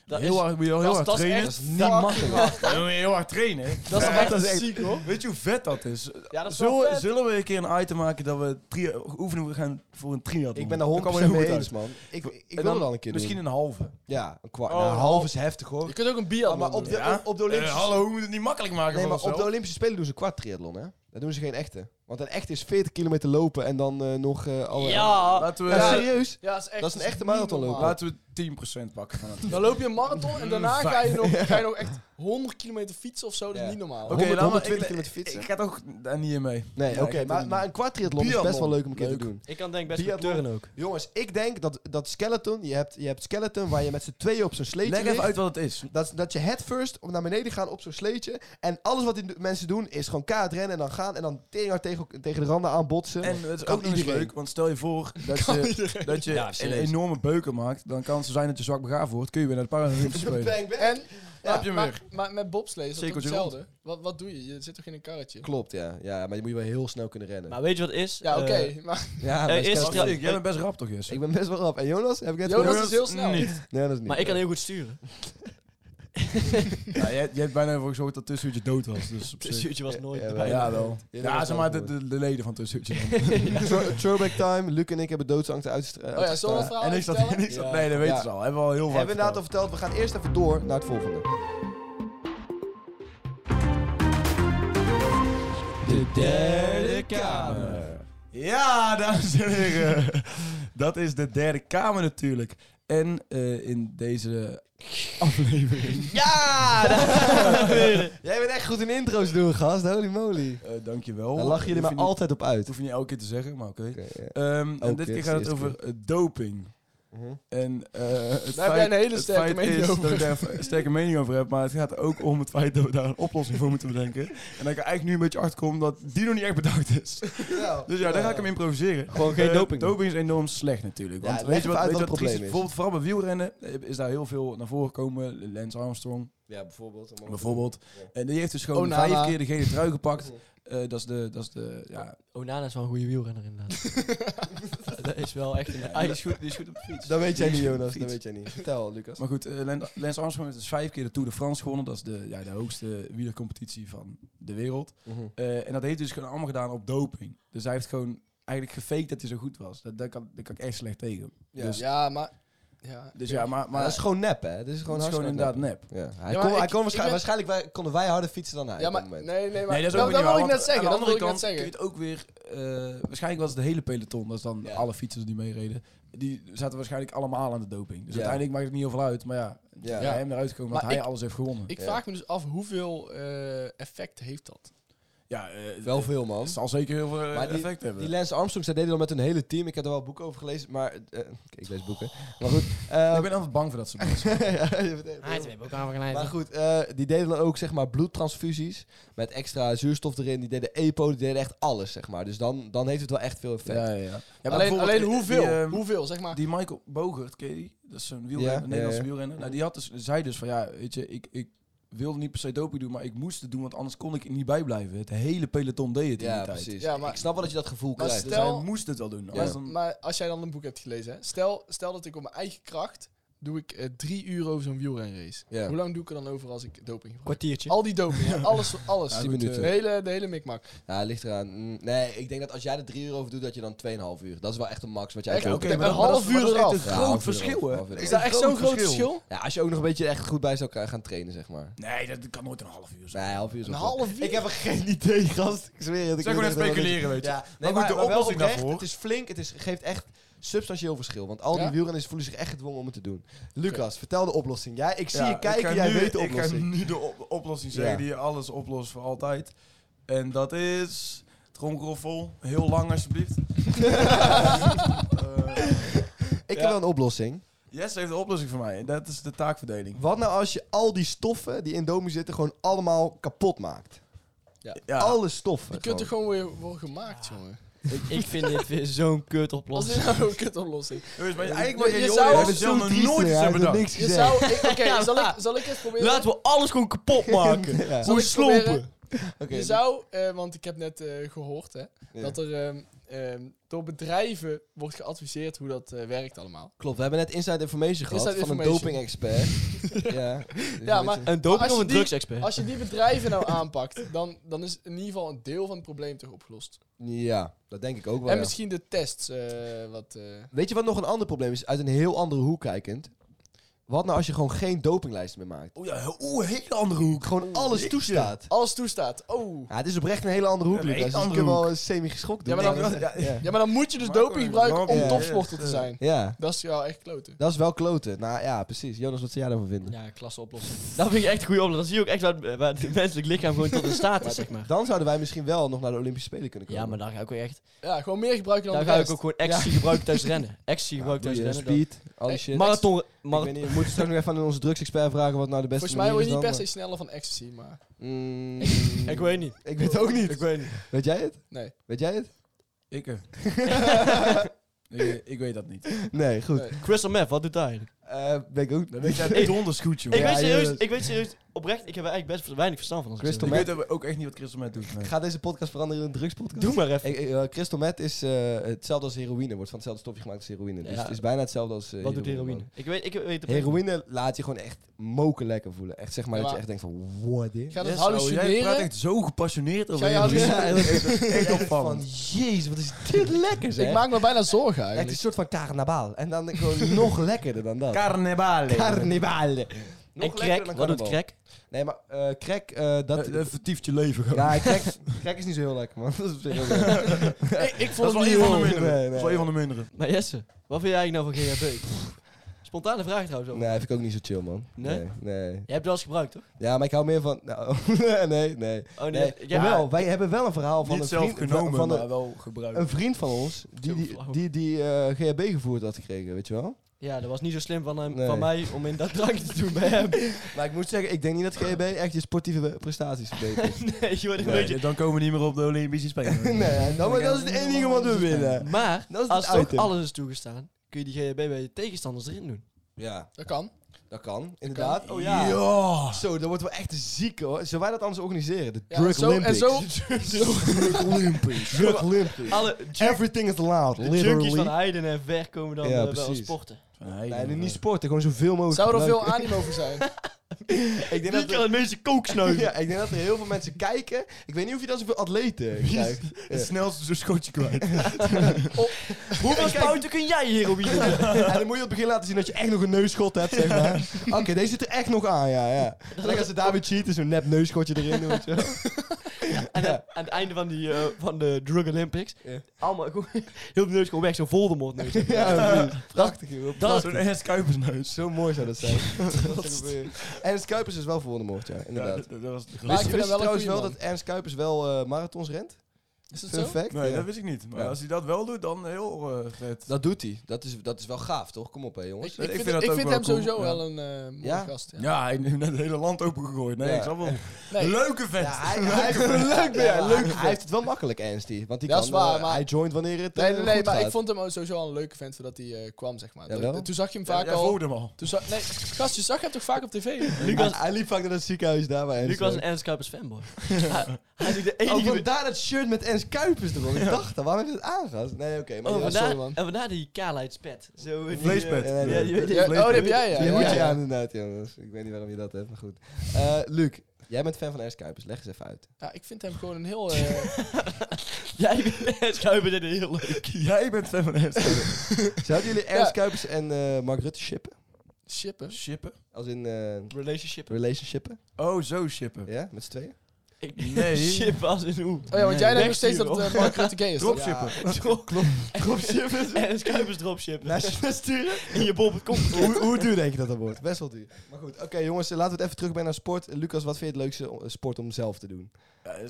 [SPEAKER 5] Dat
[SPEAKER 3] heel
[SPEAKER 5] is,
[SPEAKER 3] hard, moet je heel
[SPEAKER 5] dat is-
[SPEAKER 3] hard
[SPEAKER 5] dat is
[SPEAKER 3] trainen.
[SPEAKER 5] echt
[SPEAKER 2] dat is niet makkelijk.
[SPEAKER 3] Ja, moet je heel hard trainen. hè?
[SPEAKER 5] Dat is
[SPEAKER 3] Ja,
[SPEAKER 5] echt
[SPEAKER 3] ziek hoor. Weet je hoe vet dat is?
[SPEAKER 5] Ja, dat is wel
[SPEAKER 3] zullen,
[SPEAKER 5] vet.
[SPEAKER 3] zullen we een keer een item maken dat we tri- oefenen we gaan voor een triathlon?
[SPEAKER 2] Ik ben daar
[SPEAKER 3] Dat kan
[SPEAKER 2] 100%
[SPEAKER 3] me heel
[SPEAKER 2] mee
[SPEAKER 3] goed
[SPEAKER 2] eens,
[SPEAKER 3] uit.
[SPEAKER 2] man. Ik, ik
[SPEAKER 3] En
[SPEAKER 2] wil
[SPEAKER 3] dan
[SPEAKER 2] er al een keer
[SPEAKER 3] Misschien
[SPEAKER 2] doen.
[SPEAKER 3] een halve.
[SPEAKER 2] Ja, een kwart.
[SPEAKER 3] Oh,
[SPEAKER 2] nou, een half
[SPEAKER 3] half.
[SPEAKER 2] is heftig, hoor.
[SPEAKER 4] Je kunt ook een bier
[SPEAKER 2] Ja, Ah, maar op de,
[SPEAKER 3] Ja?
[SPEAKER 2] op, op de Olympische...
[SPEAKER 3] Eh, hallo, we moeten het niet makkelijk maken
[SPEAKER 2] nee,
[SPEAKER 3] voor
[SPEAKER 2] maar op de
[SPEAKER 3] onszelf.
[SPEAKER 2] Olympische Spelen doen ze kwart triathlon, hè? Dat doen ze geen echte. Want een echte is 40 kilometer lopen en dan eh, nog... eh alle-
[SPEAKER 3] oh,
[SPEAKER 5] Ja,
[SPEAKER 3] Laten we,
[SPEAKER 2] Ja, serieus?
[SPEAKER 4] Ja, is echt,
[SPEAKER 2] Dat is een echte
[SPEAKER 4] niet
[SPEAKER 2] marathonloper.
[SPEAKER 3] Ah,
[SPEAKER 4] normaal.
[SPEAKER 3] laten we 10% pakken van het.
[SPEAKER 4] Dan loop je een marathon en daarna ga je nog, ga je nog echt 100 kilometer fietsen of zo. Dat is
[SPEAKER 2] Mm, Ja.
[SPEAKER 4] niet normaal.
[SPEAKER 2] Oké. 100, 120 kilometer fietsen.
[SPEAKER 3] Ik ga ook daar niet in mee.
[SPEAKER 2] Nee,
[SPEAKER 3] Ja,
[SPEAKER 2] oké,
[SPEAKER 3] ik
[SPEAKER 2] maar,
[SPEAKER 3] doe-
[SPEAKER 2] maar een kwart triathlon is best wel
[SPEAKER 3] Biathlon.
[SPEAKER 2] leuk om een keer te
[SPEAKER 3] Leuk.
[SPEAKER 2] doen.
[SPEAKER 5] ik kan denk best wel
[SPEAKER 2] Biathlon.
[SPEAKER 5] turnen ook.
[SPEAKER 2] Jongens, ik denk dat, dat skeleton, je hebt, je hebt skeleton waar je met z'n tweeën op zo'n sleetje
[SPEAKER 3] Leg
[SPEAKER 2] ligt.
[SPEAKER 3] even uit wat het is.
[SPEAKER 2] Dat, dat je head first om naar beneden gaan op zo'n sleetje. En alles wat die do- mensen doen is gewoon kaart rennen en dan gaan. En dan tering hard tegen, tegen de randen aanbotsen.
[SPEAKER 3] En het is
[SPEAKER 2] Kan
[SPEAKER 3] ook niet eens
[SPEAKER 2] iedereen.
[SPEAKER 3] leuk, want stel je voor dat je, dat je een enorme beuken maakt, dan kan het zo zijn dat je zwak begaafd wordt, kun je weer naar de Paralympische
[SPEAKER 2] Bang,
[SPEAKER 3] spelen.
[SPEAKER 2] bang.
[SPEAKER 4] En, ja,
[SPEAKER 3] heb je hem
[SPEAKER 4] maar, maar met bobslees is dat
[SPEAKER 3] Cirkeltje
[SPEAKER 4] hetzelfde. Wat, wat doe je? Je zit toch in een karretje?
[SPEAKER 2] Klopt, ja. ja. Maar je moet je wel heel snel kunnen rennen.
[SPEAKER 5] Maar weet je wat het is?
[SPEAKER 4] Ja, oké.
[SPEAKER 5] Eh,
[SPEAKER 4] maar
[SPEAKER 2] ja,
[SPEAKER 5] eh,
[SPEAKER 2] maar
[SPEAKER 5] eerst-
[SPEAKER 2] skeleton-
[SPEAKER 3] Dat is ziek, Jij bent best rap toch, Jesse?
[SPEAKER 2] Ik ben best wel rap. En Jonas? Heb ik net
[SPEAKER 4] Jonas
[SPEAKER 2] gehoord?
[SPEAKER 4] is heel snel.
[SPEAKER 3] Niet.
[SPEAKER 2] Nee, dat is niet.
[SPEAKER 5] maar ik kan heel goed sturen. Dus
[SPEAKER 3] Ja, jij, jij hebt bijna ervoor gezorgd dat Tussenhoutje dood was, dus op
[SPEAKER 5] Het
[SPEAKER 3] zich.
[SPEAKER 5] stuurtje was nooit
[SPEAKER 2] Ja,
[SPEAKER 5] erbij.
[SPEAKER 3] Ja, ja, wel.
[SPEAKER 2] Ja,
[SPEAKER 3] Ja,
[SPEAKER 2] dat was
[SPEAKER 3] zeg maar
[SPEAKER 2] wel
[SPEAKER 3] de, de, de leden van Tussenhoutje. dan.
[SPEAKER 2] Throw- Throwback time. Luc en ik hebben doodsangsten uitgestra-
[SPEAKER 4] Oh ja, zo'n verhaal.
[SPEAKER 3] En ik zat, en ik zat, nee, dat weten
[SPEAKER 2] Ja.
[SPEAKER 3] ze al. Hebben we al heel vaak
[SPEAKER 2] Hebben eh, we inderdaad al
[SPEAKER 3] verteld.
[SPEAKER 2] verteld. We gaan eerst even door naar het volgende.
[SPEAKER 3] Derde Kamer. Ja, dames en heren. Dat is de Derde Kamer natuurlijk. En eh, in deze aflevering...
[SPEAKER 2] Ja! Jij bent echt goed in intro's doen, gast. Holy moly.
[SPEAKER 3] Eh, dankjewel.
[SPEAKER 2] Daar lachen jullie maar
[SPEAKER 3] Hoef je niet-
[SPEAKER 2] altijd op uit.
[SPEAKER 3] hoef je niet elke keer te zeggen, maar oké.
[SPEAKER 2] Oké, ja.
[SPEAKER 3] Ehm, en
[SPEAKER 2] Elke keer
[SPEAKER 3] dit keer
[SPEAKER 2] is
[SPEAKER 3] gaat
[SPEAKER 2] de
[SPEAKER 3] het
[SPEAKER 2] eerste
[SPEAKER 3] over eh, doping.
[SPEAKER 2] Mhm.
[SPEAKER 3] En eh, het
[SPEAKER 4] Daar heb jij
[SPEAKER 3] feit,
[SPEAKER 4] een hele
[SPEAKER 3] het
[SPEAKER 4] sterke
[SPEAKER 3] feit
[SPEAKER 4] mening
[SPEAKER 3] is
[SPEAKER 4] over.
[SPEAKER 3] dat ik daar een sterke mening over heb, maar het gaat ook om het feit dat we daar een oplossing voor moeten bedenken. En dat ik er eigenlijk nu een beetje achter kom dat die nog niet echt bedacht is. Dus ja, daar ga ik hem improviseren.
[SPEAKER 2] Gewoon geen
[SPEAKER 3] Eh,
[SPEAKER 2] doping.
[SPEAKER 3] Doping is enorm slecht natuurlijk.
[SPEAKER 2] Ja,
[SPEAKER 3] Want
[SPEAKER 2] leg
[SPEAKER 3] weet je
[SPEAKER 2] even
[SPEAKER 3] wat,
[SPEAKER 2] uit
[SPEAKER 3] weet
[SPEAKER 2] wat
[SPEAKER 3] je
[SPEAKER 2] het
[SPEAKER 3] wat triest
[SPEAKER 2] probleem
[SPEAKER 3] is?
[SPEAKER 2] is.
[SPEAKER 3] Bijvoorbeeld vooral bij wielrennen eh, is daar heel veel naar voren gekomen. Lance Armstrong,
[SPEAKER 2] Ja, bijvoorbeeld. om-
[SPEAKER 3] Bijvoorbeeld. En die heeft dus gewoon
[SPEAKER 4] Onana.
[SPEAKER 3] vijf keer de gele trui gepakt. Eh, dat is de, dat is de, ja.
[SPEAKER 5] Oh,
[SPEAKER 7] Onana is wel een goede wielrenner inderdaad. dat is wel echt een... Ah, die is goed, die is goed op de fiets.
[SPEAKER 2] Dat weet jij niet, Jonas. Dat weet jij niet. Vertel, Lucas.
[SPEAKER 3] Maar goed, eh, Len- Lance Armstrong heeft dus vijf keer de Tour de France gewonnen. Dat is de, ja, de hoogste wielercompetitie van de wereld.
[SPEAKER 2] Mhm.
[SPEAKER 3] Eh, en dat heeft hij dus gewoon allemaal gedaan op doping. Dus hij heeft gewoon eigenlijk gefaked dat hij zo goed was. Dat, dat, kan, dat kan ik echt slecht tegen.
[SPEAKER 2] Ja.
[SPEAKER 3] Dus,
[SPEAKER 4] Ja, maar... Ja,
[SPEAKER 3] dus ja, maar,
[SPEAKER 2] Maar
[SPEAKER 3] maar
[SPEAKER 2] dat is gewoon nep, hè? Dat is gewoon,
[SPEAKER 3] het is
[SPEAKER 2] hartstikke
[SPEAKER 3] gewoon inderdaad
[SPEAKER 2] nep. Ja,
[SPEAKER 3] nep.
[SPEAKER 2] hij
[SPEAKER 4] Ja, maar
[SPEAKER 2] kon,
[SPEAKER 4] ik-
[SPEAKER 2] hij kon
[SPEAKER 4] ik ben-
[SPEAKER 2] waarschijnlijk, waarschijnlijk wij, konden wij harder fietsen dan hij
[SPEAKER 4] ja
[SPEAKER 2] op dat
[SPEAKER 4] maar...
[SPEAKER 2] moment.
[SPEAKER 4] Nee, nee, maar...
[SPEAKER 3] Nee, dat is ook
[SPEAKER 4] dat
[SPEAKER 3] weer niet
[SPEAKER 4] dat wil
[SPEAKER 3] waar,
[SPEAKER 4] ik
[SPEAKER 3] want
[SPEAKER 4] net zeggen.
[SPEAKER 3] Aan de
[SPEAKER 4] Dat wil
[SPEAKER 3] andere
[SPEAKER 4] ik net
[SPEAKER 3] kant kun
[SPEAKER 4] zeggen.
[SPEAKER 3] je het ook weer... eh, waarschijnlijk was het de hele peloton, dat is dan
[SPEAKER 2] Ja.
[SPEAKER 3] alle fietsers die meereden. Die zaten waarschijnlijk allemaal aan de doping.
[SPEAKER 2] Ja.
[SPEAKER 3] Dus uiteindelijk maakt het niet heel veel uit. Maar ja,
[SPEAKER 2] Ja.
[SPEAKER 3] bij hem eruit gekomen dat
[SPEAKER 4] Maar
[SPEAKER 3] hij
[SPEAKER 4] ik-
[SPEAKER 3] alles heeft gewonnen.
[SPEAKER 4] Ik
[SPEAKER 2] Ja.
[SPEAKER 4] vraag me dus af hoeveel eh, effect heeft
[SPEAKER 3] Nou,
[SPEAKER 4] dat?
[SPEAKER 3] ja, eh,
[SPEAKER 2] Wel veel, man.
[SPEAKER 3] Het zal zeker heel veel eh,
[SPEAKER 2] Maar die-
[SPEAKER 3] effect hebben.
[SPEAKER 2] Die Lance Armstrong, zij deden dat met hun hele team. Ik heb er wel boeken over gelezen, maar... eh, oké, ik lees boeken. Maar goed. eh,
[SPEAKER 3] ik ben altijd bang voor dat soort mensen.
[SPEAKER 2] ja, je bent-
[SPEAKER 7] Hij is hem ook aangeleid.
[SPEAKER 2] maar goed, eh, die deden dan ook zeg maar bloedtransfusies met extra zuurstof erin. Die deden EPO, die deden echt alles zeg maar. Dus dan, dan heeft het wel echt veel effect.
[SPEAKER 3] ja, ja, ja. Ja, maar
[SPEAKER 4] alleen,
[SPEAKER 3] bijvoorbeeld,
[SPEAKER 4] alleen
[SPEAKER 3] eh,
[SPEAKER 4] hoeveel?
[SPEAKER 3] Die, ehm,
[SPEAKER 4] hoeveel, zeg maar.
[SPEAKER 3] die Michael Bogert, ken je die? Dat is een
[SPEAKER 2] Ja,
[SPEAKER 3] wielrenner,
[SPEAKER 2] ja,
[SPEAKER 3] een Nederlandse
[SPEAKER 2] ja.
[SPEAKER 3] wielrenner. Nou, die had dus, zei dus van ja, weet je, ik, ik wilde niet per se doping doen, maar ik moest het doen, want anders kon ik er niet bij blijven. Het hele peloton deed het in
[SPEAKER 2] Ja,
[SPEAKER 3] die tijd.
[SPEAKER 2] precies.
[SPEAKER 4] Ja, maar-
[SPEAKER 2] ik snap wel dat je dat gevoel
[SPEAKER 4] Maar
[SPEAKER 2] krijgt.
[SPEAKER 3] Dus
[SPEAKER 4] Stel-
[SPEAKER 3] hij moest het wel doen.
[SPEAKER 2] Ja.
[SPEAKER 3] Anders dan-
[SPEAKER 4] Maar als jij dan een boek hebt gelezen, hè? Stel, stel dat ik op mijn eigen kracht doe ik eh, drie uur over zo'n wielrenrace.
[SPEAKER 2] Ja.
[SPEAKER 4] Hoe lang doe ik er dan over als ik doping gebruik?
[SPEAKER 7] Kwartiertje.
[SPEAKER 4] Al die doping, hè? alles, alles.
[SPEAKER 3] Ja,
[SPEAKER 2] Tien
[SPEAKER 3] goed, eh,
[SPEAKER 2] minuten.
[SPEAKER 4] de, hele, de hele mikmak.
[SPEAKER 2] Ja, ligt eraan. Mm, Nee, ik denk dat als jij er drie uur over doet, dat je dan 2,5 uur. Dat is wel echt een max wat jij
[SPEAKER 4] Echt?
[SPEAKER 2] kan
[SPEAKER 4] Oké,
[SPEAKER 2] doen.
[SPEAKER 4] maar Een half
[SPEAKER 3] dat is- maar
[SPEAKER 4] uur
[SPEAKER 3] dat is echt
[SPEAKER 4] eraf.
[SPEAKER 2] Ja,
[SPEAKER 3] een
[SPEAKER 2] half
[SPEAKER 3] groot
[SPEAKER 2] uur
[SPEAKER 3] verschil,
[SPEAKER 2] eraf,
[SPEAKER 3] hè?
[SPEAKER 2] half uur
[SPEAKER 3] Dat
[SPEAKER 4] Is
[SPEAKER 2] eraf.
[SPEAKER 4] dat
[SPEAKER 3] een
[SPEAKER 4] echt zo'n groot verschil?
[SPEAKER 2] Ja, als je ook nog een beetje echt goed bij zou gaan trainen, zeg maar.
[SPEAKER 3] Nee, dat kan nooit een half uur zijn.
[SPEAKER 2] Nee, half uur is
[SPEAKER 4] Een
[SPEAKER 2] wel
[SPEAKER 4] half
[SPEAKER 2] goed.
[SPEAKER 4] uur?
[SPEAKER 2] Ik heb er geen idee, gast. Ik zweer het. Ik
[SPEAKER 3] Zeg
[SPEAKER 2] weet
[SPEAKER 3] maar
[SPEAKER 2] echt
[SPEAKER 3] even
[SPEAKER 2] wel
[SPEAKER 3] speculeren,
[SPEAKER 2] niet.
[SPEAKER 3] weet je.
[SPEAKER 2] Ja,
[SPEAKER 3] Maar
[SPEAKER 2] nee,
[SPEAKER 3] goed,
[SPEAKER 2] maar,
[SPEAKER 3] de
[SPEAKER 2] maar wel
[SPEAKER 3] oplossing
[SPEAKER 2] oprecht,
[SPEAKER 3] daarvoor-
[SPEAKER 2] Het is flink, het is, geeft echt substantieel verschil. Want al die
[SPEAKER 4] Ja?
[SPEAKER 2] wielrenners voelen zich echt gedwongen om het te doen. Lucas, vertel de oplossing. Jij, ik zie
[SPEAKER 3] Ja,
[SPEAKER 2] je kijken,
[SPEAKER 3] ik ga
[SPEAKER 2] jij
[SPEAKER 3] nu-
[SPEAKER 2] weet de
[SPEAKER 3] Ik ga
[SPEAKER 2] oplossing.
[SPEAKER 3] nu de op- oplossing zeggen
[SPEAKER 2] Ja.
[SPEAKER 3] die alles oplost voor altijd. En dat is... Tromgeroffel. Heel lang, alsjeblieft. Eh,
[SPEAKER 2] Ik heb wel een oplossing.
[SPEAKER 3] Jess heeft de oplossing voor mij. En dat is de taakverdeling.
[SPEAKER 2] Wat nou als je al die stoffen die in domi zitten gewoon allemaal kapot maakt?
[SPEAKER 3] Ja,
[SPEAKER 2] Alle stoffen.
[SPEAKER 4] Je kunt er
[SPEAKER 2] gewoon.
[SPEAKER 4] gewoon weer worden gemaakt, jongen.
[SPEAKER 7] Ik, ik vind dit weer zo'n kut
[SPEAKER 4] Als
[SPEAKER 7] oplossing.
[SPEAKER 4] dit nou een kutoplossing.
[SPEAKER 3] Jongens, maar eigenlijk
[SPEAKER 4] Je-
[SPEAKER 3] mag je,
[SPEAKER 4] je
[SPEAKER 3] je,
[SPEAKER 4] zou-
[SPEAKER 3] oren
[SPEAKER 4] We
[SPEAKER 3] zelf nog
[SPEAKER 2] triest,
[SPEAKER 3] nooit
[SPEAKER 2] hè,
[SPEAKER 3] eens
[SPEAKER 2] hij
[SPEAKER 3] hebben
[SPEAKER 2] heeft
[SPEAKER 3] bedacht.
[SPEAKER 2] niks
[SPEAKER 4] Je
[SPEAKER 2] gezegd.
[SPEAKER 4] zou... ik- Oké, zal, ik, zal ik eens proberen?
[SPEAKER 7] Laten we alles gewoon kapot maken.
[SPEAKER 2] Ja.
[SPEAKER 4] Zal
[SPEAKER 7] Gewoon
[SPEAKER 4] ik proberen?
[SPEAKER 7] slopen.
[SPEAKER 2] Oké,
[SPEAKER 4] Je zou, eh, want ik heb net eh, gehoord hè,
[SPEAKER 2] Ja.
[SPEAKER 4] dat er ehm, ehm, door bedrijven wordt geadviseerd hoe dat eh, werkt allemaal.
[SPEAKER 2] Klopt, we hebben net inside information gehad
[SPEAKER 4] Inside
[SPEAKER 2] van een
[SPEAKER 4] information.
[SPEAKER 2] doping-expert. ja,
[SPEAKER 4] Ja, maar
[SPEAKER 7] Een
[SPEAKER 4] Maar
[SPEAKER 7] doping
[SPEAKER 4] als
[SPEAKER 7] of een
[SPEAKER 4] die-
[SPEAKER 7] drugsexpert?
[SPEAKER 4] als je die bedrijven nou aanpakt, dan, dan is in ieder geval een deel van het probleem toch opgelost.
[SPEAKER 2] Ja, dat denk ik ook wel.
[SPEAKER 4] en
[SPEAKER 2] ja.
[SPEAKER 4] misschien de tests eh, wat... eh,
[SPEAKER 2] Weet je wat nog een ander probleem is? Uit een heel andere hoek kijkend. Wat nou als je gewoon geen dopinglijst meer maakt?
[SPEAKER 3] Oeh, ja, oeh, een hele andere hoek.
[SPEAKER 2] Gewoon alles toestaat.
[SPEAKER 4] alles toestaat. Oh.
[SPEAKER 2] Ja, het is oprecht een hele andere hoek,
[SPEAKER 3] Een hele
[SPEAKER 2] Lucas. Dus ik
[SPEAKER 3] andere
[SPEAKER 2] heb wel semi-geschokt
[SPEAKER 4] Ja,
[SPEAKER 2] doen.
[SPEAKER 4] maar dan, ja,
[SPEAKER 3] Ja, ja.
[SPEAKER 4] maar dan moet je dus
[SPEAKER 3] Marco
[SPEAKER 4] doping
[SPEAKER 3] is
[SPEAKER 4] gebruiken
[SPEAKER 3] wel eh,
[SPEAKER 4] om
[SPEAKER 2] weer-
[SPEAKER 4] topsporter te zijn.
[SPEAKER 2] Ja,
[SPEAKER 4] Dat is wel echt kloten.
[SPEAKER 2] dat is wel kloten. Nou ja, precies. Jonas, wat zou jij daarvan vinden?
[SPEAKER 7] Ja, klasse oplossing. Dat vind ik echt een goede oplossing. Dan zie je ook echt waar, waar het menselijk lichaam gewoon tot in staat is, zeg maar.
[SPEAKER 2] Dan zouden wij misschien wel nog naar de Olympische Spelen kunnen komen.
[SPEAKER 7] Ja, maar daar ga ik ook echt.
[SPEAKER 4] Ja, gewoon meer gebruiken dan
[SPEAKER 7] Daar
[SPEAKER 4] de
[SPEAKER 7] ga ik
[SPEAKER 4] rest.
[SPEAKER 7] ook gewoon ecstasy gebruiken tijdens rennen. Ecstasy gebruiken
[SPEAKER 2] Doe je
[SPEAKER 7] tijdens rennen. dan-
[SPEAKER 2] speed, al die
[SPEAKER 4] Nee,
[SPEAKER 2] shit.
[SPEAKER 7] Marathon.
[SPEAKER 2] Ik weet
[SPEAKER 7] marathon
[SPEAKER 2] niet, we moeten straks nog even aan onze drugsexpert vragen wat nou de beste
[SPEAKER 4] Volgens mij word
[SPEAKER 2] manier
[SPEAKER 4] je
[SPEAKER 2] is
[SPEAKER 4] niet
[SPEAKER 2] dan,
[SPEAKER 4] per se sneller van ecstasy, maar...
[SPEAKER 2] maar- Mm,
[SPEAKER 7] ik weet niet.
[SPEAKER 2] ik weet ook niet.
[SPEAKER 7] Ik weet niet.
[SPEAKER 2] Weet jij het?
[SPEAKER 4] Nee.
[SPEAKER 2] Weet jij het?
[SPEAKER 3] Ik, eh, ik, ik weet dat niet.
[SPEAKER 2] Nee, goed.
[SPEAKER 4] Nee.
[SPEAKER 7] Crystal meth, wat doet hij eigenlijk?
[SPEAKER 2] Eh, ben ik ook...
[SPEAKER 3] Dat weet jij donders goed, jongen.
[SPEAKER 7] Ik,
[SPEAKER 2] Ja,
[SPEAKER 7] weet serieus,
[SPEAKER 2] Jonas.
[SPEAKER 7] ik weet serieus, opreus, oprecht, ik heb er eigenlijk best weinig verstand van. als ik
[SPEAKER 2] Crystal
[SPEAKER 3] Ik
[SPEAKER 7] zo
[SPEAKER 2] meth.
[SPEAKER 3] weet dat- ook echt niet wat Christel met doet. nee.
[SPEAKER 2] Ga deze podcast veranderen in een drugspodcast?
[SPEAKER 7] ben. Doe maar even.
[SPEAKER 2] Ik, eh, eh, crystal meth is eh, hetzelfde als heroïne. Wordt van hetzelfde stofje gemaakt als heroïne. Dus
[SPEAKER 7] Ja.
[SPEAKER 2] het is bijna hetzelfde als eh,
[SPEAKER 7] wat doet heroïne? Ik weet, ik weet
[SPEAKER 2] man. Heroïne laat je gewoon echt moken lekker voelen. Echt zeg maar
[SPEAKER 4] Ja,
[SPEAKER 2] dat je
[SPEAKER 4] maar-
[SPEAKER 2] echt denkt van, what dit?
[SPEAKER 4] Ga dat
[SPEAKER 3] Yes, ouwe, oh, Jij praat
[SPEAKER 4] hallucineren?
[SPEAKER 3] echt zo gepassioneerd
[SPEAKER 4] Ga
[SPEAKER 3] over
[SPEAKER 4] je
[SPEAKER 3] je
[SPEAKER 4] hallucineren?
[SPEAKER 2] Ja, dat is
[SPEAKER 3] Echt
[SPEAKER 2] van,
[SPEAKER 3] opvallend.
[SPEAKER 2] jezus, wat is dit lekker zeg.
[SPEAKER 4] Ik maak me bijna zorgen
[SPEAKER 2] Echt een
[SPEAKER 4] eigenlijk.
[SPEAKER 2] soort van carnaval. En dan gewoon nog lekkerder dan dat.
[SPEAKER 3] Carnevale.
[SPEAKER 2] Carnivale.
[SPEAKER 7] En crack, wat doet crack?
[SPEAKER 2] Nee, maar eh crack, eh, dat...
[SPEAKER 3] Dat vertieft je leven gewoon.
[SPEAKER 2] ja, crack, crack is niet zo heel lekker, man. Dat is op zich heel lekker.
[SPEAKER 4] Ik, ik
[SPEAKER 3] Dat is
[SPEAKER 4] vond het
[SPEAKER 3] wel
[SPEAKER 4] niet
[SPEAKER 3] een van de
[SPEAKER 4] heel...
[SPEAKER 3] mindere.
[SPEAKER 2] Nee, nee.
[SPEAKER 3] Dat is wel een van de mindere.
[SPEAKER 7] Maar Jesse, wat vind jij eigenlijk nou van GHB? Pff, Spontane vraag trouwens. ook.
[SPEAKER 2] Nee, vind ik ook niet zo chill, man.
[SPEAKER 7] Nee?
[SPEAKER 2] Nee, nee.
[SPEAKER 7] Jij hebt het wel eens gebruikt, toch?
[SPEAKER 2] Ja, maar ik hou meer van... Nou, nee, nee.
[SPEAKER 7] Oh nee.
[SPEAKER 2] Nee,
[SPEAKER 7] ja,
[SPEAKER 2] maar wel, wij hebben wel een verhaal van
[SPEAKER 3] Niet
[SPEAKER 2] een
[SPEAKER 3] zelf
[SPEAKER 2] vriend,
[SPEAKER 3] genomen,
[SPEAKER 2] van
[SPEAKER 3] maar
[SPEAKER 2] een,
[SPEAKER 3] wel gebruikt.
[SPEAKER 2] een vriend van ons die, die,
[SPEAKER 7] flauw.
[SPEAKER 2] die, die eh, GHB gevoerd had gekregen, weet je wel?
[SPEAKER 7] ja, dat was niet zo slim van, hem,
[SPEAKER 2] Nee.
[SPEAKER 7] van mij om in dat drankje te doen bij hem.
[SPEAKER 2] Maar ik moet zeggen, ik denk niet dat GHB echt je sportieve prestaties verbetert.
[SPEAKER 7] nee, je wordt een
[SPEAKER 3] Nee,
[SPEAKER 7] beetje...
[SPEAKER 3] eh, dan komen we niet meer op de Olympische Spelen.
[SPEAKER 2] nee, dat, maar dat is het enige wat we willen.
[SPEAKER 7] Maar,
[SPEAKER 2] Dat is het
[SPEAKER 7] als toch
[SPEAKER 2] item.
[SPEAKER 7] alles is toegestaan, kun je die GHB bij je tegenstanders erin doen.
[SPEAKER 2] Ja.
[SPEAKER 4] Dat kan.
[SPEAKER 2] Dat kan, inderdaad.
[SPEAKER 4] kan.
[SPEAKER 2] Oh ja.
[SPEAKER 3] Ja.
[SPEAKER 2] Zo, dat wordt wel echt ziek hoor. Zullen wij dat anders organiseren? De
[SPEAKER 4] Ja,
[SPEAKER 2] Drug
[SPEAKER 4] zo, en
[SPEAKER 2] Olympics.
[SPEAKER 4] zo,
[SPEAKER 2] Drug Olympics. Drug Olympics.
[SPEAKER 5] Alle ju-
[SPEAKER 2] Everything is allowed,
[SPEAKER 5] de junkies van
[SPEAKER 2] literally.
[SPEAKER 5] Heiden en Ver komen dan
[SPEAKER 2] Ja,
[SPEAKER 5] eh, bij ons
[SPEAKER 2] precies.
[SPEAKER 5] sporten.
[SPEAKER 2] Nee, nee, niet sporten. Gewoon zoveel mogelijk
[SPEAKER 4] zou er veel
[SPEAKER 2] gebruiken.
[SPEAKER 4] animo voor zijn.
[SPEAKER 2] Ik denk
[SPEAKER 5] Wie
[SPEAKER 2] dat
[SPEAKER 5] kan
[SPEAKER 2] er-
[SPEAKER 5] het meeste kook snuiven?
[SPEAKER 2] ja, ik denk dat er heel veel mensen kijken. Ik weet niet of je dan zoveel atleten kijkt.
[SPEAKER 3] Het snelste zo'n schotje kwijt.
[SPEAKER 5] Oh. Hoeveel spuiten kun jij hier op je
[SPEAKER 2] en dan moet je op het begin laten zien dat je echt nog een neusschot hebt, zeg maar. Oké, deze zit er echt nog aan, ja, ja. Lekker als ze daarmee cheaten, zo'n nep neusschotje erin. Weet je. wel.
[SPEAKER 5] En aan, aan het einde van, die, eh, van de Drug Olympics. Allemaal gewoon, heel de neus gewoon weg, zo'n Voldemort neus.
[SPEAKER 2] Ja, precies. prachtig, joh.
[SPEAKER 5] Dat
[SPEAKER 3] Zo'n Ernst Kuipersneus.
[SPEAKER 2] Zo mooi zou dat zijn. Dat is gebeuren. Ernst Kuipers is wel voor de moord, ja,
[SPEAKER 3] Ja,
[SPEAKER 2] inderdaad.
[SPEAKER 3] dat, dat was
[SPEAKER 4] Maar ik
[SPEAKER 2] Wist je
[SPEAKER 4] vind
[SPEAKER 2] wist
[SPEAKER 4] dat
[SPEAKER 2] je
[SPEAKER 4] wel een
[SPEAKER 2] trouwens
[SPEAKER 4] goeie
[SPEAKER 2] wel
[SPEAKER 4] man.
[SPEAKER 2] dat Ernst Kuipers wel eh, marathons rent?
[SPEAKER 4] Is dat
[SPEAKER 2] Fun
[SPEAKER 4] zo?
[SPEAKER 2] fact.
[SPEAKER 3] Nee,
[SPEAKER 2] ja.
[SPEAKER 3] dat wist ik niet. Maar
[SPEAKER 2] Ja.
[SPEAKER 3] als hij dat wel doet, dan heel eh, vet.
[SPEAKER 2] Dat doet hij. Dat is, dat is wel gaaf, toch? Kom op, hè, jongens.
[SPEAKER 3] Ik
[SPEAKER 4] Ik, ik
[SPEAKER 3] vind
[SPEAKER 4] vind,
[SPEAKER 3] dat
[SPEAKER 4] ik
[SPEAKER 3] ook
[SPEAKER 4] vind
[SPEAKER 3] wel
[SPEAKER 4] hem
[SPEAKER 3] cool,
[SPEAKER 4] sowieso
[SPEAKER 3] ja.
[SPEAKER 4] wel een eh mooie
[SPEAKER 2] Ja?
[SPEAKER 4] gast. Ja.
[SPEAKER 3] Ja, hij heeft net het hele land opengegooid. Nee,
[SPEAKER 2] Ja.
[SPEAKER 3] ik snap wel.
[SPEAKER 4] Nee,
[SPEAKER 3] Leuke vent.
[SPEAKER 2] Ja, hij, hij heeft, leuk,
[SPEAKER 4] ja,
[SPEAKER 2] ja,
[SPEAKER 4] leuk.
[SPEAKER 2] leuk. Hij heeft het wel makkelijk, Ernst. die. Want die
[SPEAKER 4] Dat
[SPEAKER 2] kan,
[SPEAKER 4] is waar,
[SPEAKER 2] eh,
[SPEAKER 4] maar-
[SPEAKER 2] hij joint wanneer het eh,
[SPEAKER 4] nee, nee, nee
[SPEAKER 2] goed
[SPEAKER 4] maar
[SPEAKER 2] gaat.
[SPEAKER 4] ik vond hem ook sowieso al een leuke vent voordat hij eh, kwam, zeg maar.
[SPEAKER 2] Jawel?
[SPEAKER 4] Toen- Toen zag je hem
[SPEAKER 3] Ja,
[SPEAKER 4] vaak
[SPEAKER 3] jij
[SPEAKER 4] al...
[SPEAKER 3] voelde hem al.
[SPEAKER 4] Toen zag, nee, gast, je zag hem toch vaak op tv?
[SPEAKER 5] Lucas,
[SPEAKER 2] hij, hij liep vaak naar het ziekenhuis daar bij Ernst.
[SPEAKER 5] Lucas is een Ernst Kuipers fanboy. Hij is ook de
[SPEAKER 2] Oh,
[SPEAKER 5] enige...
[SPEAKER 2] vandaar dat shirt met Ernst Kuipers erop. Ik dacht al, waarom heb je het aangehad? ah, Nee, oké. maar
[SPEAKER 5] Oh,
[SPEAKER 2] ja,
[SPEAKER 5] vandaar,
[SPEAKER 2] sorry, man.
[SPEAKER 5] en vandaar die kaalheidspet. Zo, die, eh,
[SPEAKER 3] Vleespet.
[SPEAKER 2] Ja,
[SPEAKER 5] ja, die- die-
[SPEAKER 4] Ja, oh, dat heb jij, ja.
[SPEAKER 2] Die
[SPEAKER 4] ja,
[SPEAKER 2] moet
[SPEAKER 4] ja,
[SPEAKER 2] je
[SPEAKER 4] ja.
[SPEAKER 2] aan inderdaad, jongens. Ik weet niet waarom je dat hebt, maar goed. Eh, Luc, jij bent fan van Ernst Kuipers. Leg eens even uit.
[SPEAKER 4] Ja, ik vind hem gewoon een heel... eh,
[SPEAKER 5] Jij bent Ernst Kuipers en heel leuk.
[SPEAKER 3] Jij bent fan van Ernst.
[SPEAKER 2] Zouden jullie Ernst Kuipers en eh, Mark Rutte shippen?
[SPEAKER 4] shippen.
[SPEAKER 3] Shippen?
[SPEAKER 2] Als in eh,
[SPEAKER 5] Relationship.
[SPEAKER 2] relationshippen?
[SPEAKER 3] Oh, zo shippen.
[SPEAKER 2] Ja, met z'n tweeën?
[SPEAKER 5] Ik
[SPEAKER 3] Nee.
[SPEAKER 5] Ship als in hoe.
[SPEAKER 4] Oh ja, want jij denkt nog steeds dat
[SPEAKER 5] Wegsturen,
[SPEAKER 4] eh, Mark Rutte gay is, toch?
[SPEAKER 3] Dropshippen.
[SPEAKER 5] Dropshippers. Ernst Kuipers dropshippen.
[SPEAKER 2] Naast sturen?
[SPEAKER 5] In je bol.com.
[SPEAKER 2] hoe, hoe duur denk je dat dat wordt? Best wel duur. Maar goed, oké jongens, eh, laten we het even terugbrengen naar sport. Eh, Lucas, wat vind je het leukste o- sport om zelf te doen?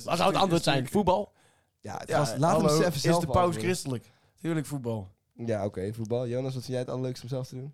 [SPEAKER 5] Wat zou het antwoord zijn? Voetbal?
[SPEAKER 2] Ja,
[SPEAKER 3] Ja,
[SPEAKER 2] gast, laat
[SPEAKER 3] hallo,
[SPEAKER 2] hem even zelf
[SPEAKER 3] Is de paus
[SPEAKER 2] beantwoorden.
[SPEAKER 3] christelijk? Tuurlijk voetbal.
[SPEAKER 2] Ja, oké, voetbal. Jonas, wat vind jij het allerleukste om zelf te doen?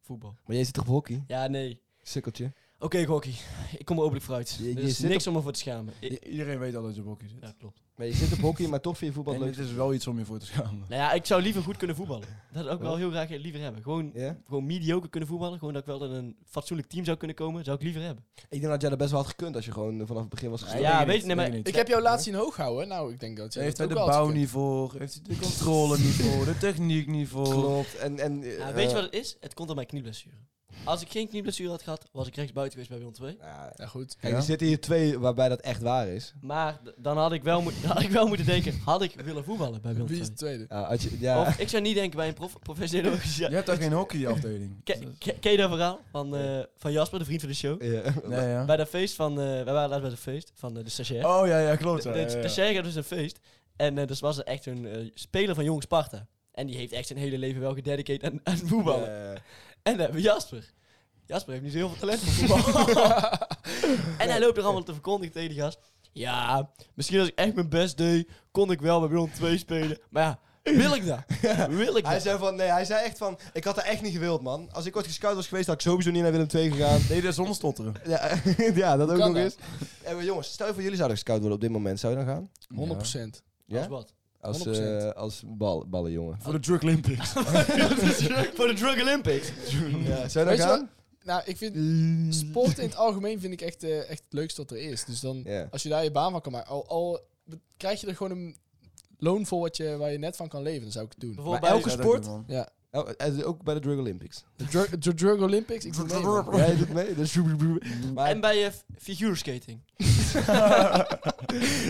[SPEAKER 5] Voetbal.
[SPEAKER 2] Maar jij zit toch op hockey?
[SPEAKER 5] Ja, nee.
[SPEAKER 2] Sukkeltje.
[SPEAKER 5] Oké, Gokkie. Ik kom er openlijk vooruit.
[SPEAKER 2] Je-
[SPEAKER 5] er
[SPEAKER 2] je
[SPEAKER 5] is
[SPEAKER 2] zit
[SPEAKER 5] niks om me voor te schamen. I-
[SPEAKER 3] Iedereen weet al dat je op hockey zit.
[SPEAKER 5] ja, klopt.
[SPEAKER 2] Maar je zit op hockey, maar toch vind je voetbal
[SPEAKER 3] En
[SPEAKER 2] leuk.
[SPEAKER 3] dit is wel iets om je voor te schamen.
[SPEAKER 5] Nou ja, ik zou liever goed kunnen voetballen. Dat ook wel heel graag liever hebben. Gewoon,
[SPEAKER 2] Ja?
[SPEAKER 5] gewoon mediocre kunnen voetballen. Gewoon dat ik wel in een fatsoenlijk team zou kunnen komen. Zou ik liever hebben.
[SPEAKER 2] Ik denk dat jij dat best wel had gekund als je gewoon eh, vanaf het begin was
[SPEAKER 3] Nee,
[SPEAKER 2] gestart.
[SPEAKER 5] Nou ja,
[SPEAKER 3] ik
[SPEAKER 5] weet
[SPEAKER 3] niet,
[SPEAKER 5] je, nee, maar
[SPEAKER 3] ik niet.
[SPEAKER 4] Ik heb jou laat zien hoog houden. Nou, ik denk dat jij
[SPEAKER 3] Heeft hij
[SPEAKER 4] dat
[SPEAKER 3] de
[SPEAKER 4] ook wel had
[SPEAKER 3] bouw
[SPEAKER 4] gekund.
[SPEAKER 3] niet voor? Heeft hij de controle niet voor? De techniek niet voor?
[SPEAKER 2] Klopt. En, en, eh,
[SPEAKER 5] Ja, Nou, weet je
[SPEAKER 2] eh,
[SPEAKER 5] wat het is? Het komt door mijn knieblessure. Als ik geen knieblessure had gehad, was ik rechts buiten geweest bij Willem 2.
[SPEAKER 2] nou,
[SPEAKER 4] Ja, goed.
[SPEAKER 2] kijk, er zitten hier twee waarbij dat echt waar is.
[SPEAKER 5] Maar d- dan had ik, wel moet- dan had ik wel moeten denken, had ik willen voetballen bij Willem
[SPEAKER 4] Wie is
[SPEAKER 5] 2?
[SPEAKER 4] de tweede?
[SPEAKER 2] Ja, als je, ja.
[SPEAKER 5] Of ik zou niet denken bij een prof- professionele
[SPEAKER 3] Je
[SPEAKER 5] organisatie.
[SPEAKER 3] hebt daar geen hockeyafdeling.
[SPEAKER 5] Ken, ken- ken je dat verhaal van, eh, van Jasper, de vriend van de show?
[SPEAKER 2] Ja.
[SPEAKER 3] Nee, ja.
[SPEAKER 5] Bij dat feest van, eh, wij waren laatst bij het feest van eh, de stagiair.
[SPEAKER 3] Oh ja, ja, klopt.
[SPEAKER 5] De,
[SPEAKER 3] ja,
[SPEAKER 5] de
[SPEAKER 3] ja, ja.
[SPEAKER 5] stagiair had dus een feest. En eh, dus was er echt een eh, speler van Jong Sparta. En die heeft echt zijn hele leven wel gededicateerd aan, aan voetballen. En dan hebben we Jasper. Jasper heeft niet zo heel veel talent voor voetbal. en hij loopt er allemaal te verkondigen tegen die gast. Ja, misschien als ik echt mijn best deed, kon ik wel bij Willem 2 spelen. Maar ja, wil ik dat? Wil ik
[SPEAKER 2] Hij
[SPEAKER 5] dat?
[SPEAKER 2] zei van, nee, hij zei echt van, ik had dat echt niet gewild, man. Als ik ooit gescout was geweest, had ik sowieso niet naar Willem II gegaan.
[SPEAKER 3] Nee, dat is zonder stotteren.
[SPEAKER 2] Ja, ja dat ook
[SPEAKER 4] kan
[SPEAKER 2] nog
[SPEAKER 4] dat?
[SPEAKER 2] eens. En maar jongens, stel je voor jullie zouden gescout worden op dit moment. Zou je dan gaan?
[SPEAKER 4] 100%.
[SPEAKER 2] Ja?
[SPEAKER 5] Als wat?
[SPEAKER 2] Als,
[SPEAKER 4] 100%.
[SPEAKER 2] eh, als bal, ballenjongen.
[SPEAKER 3] Voor de Drug Olympics.
[SPEAKER 5] Voor de Drug Olympics.
[SPEAKER 2] Ja, zou je
[SPEAKER 4] Weet
[SPEAKER 2] dan
[SPEAKER 4] je
[SPEAKER 2] gaan?
[SPEAKER 4] Nou, ik vind sport in het algemeen vind ik echt, eh, echt het leukste wat er is. Dus dan,
[SPEAKER 2] Ja.
[SPEAKER 4] als je daar je baan van kan maken, al, al be- krijg je er gewoon een loon voor wat je, waar je net van kan leven, dan zou ik het doen.
[SPEAKER 5] Bijvoorbeeld
[SPEAKER 2] Maar
[SPEAKER 5] bij-
[SPEAKER 2] elke sport?
[SPEAKER 4] Ja.
[SPEAKER 2] Oh, en ook bij de Drug Olympics.
[SPEAKER 4] De Drug, de Drug Olympics, ik doe mee, man.
[SPEAKER 2] Jij doet mee? Dat is- Maar-
[SPEAKER 5] En bij eh, f- figuurskating.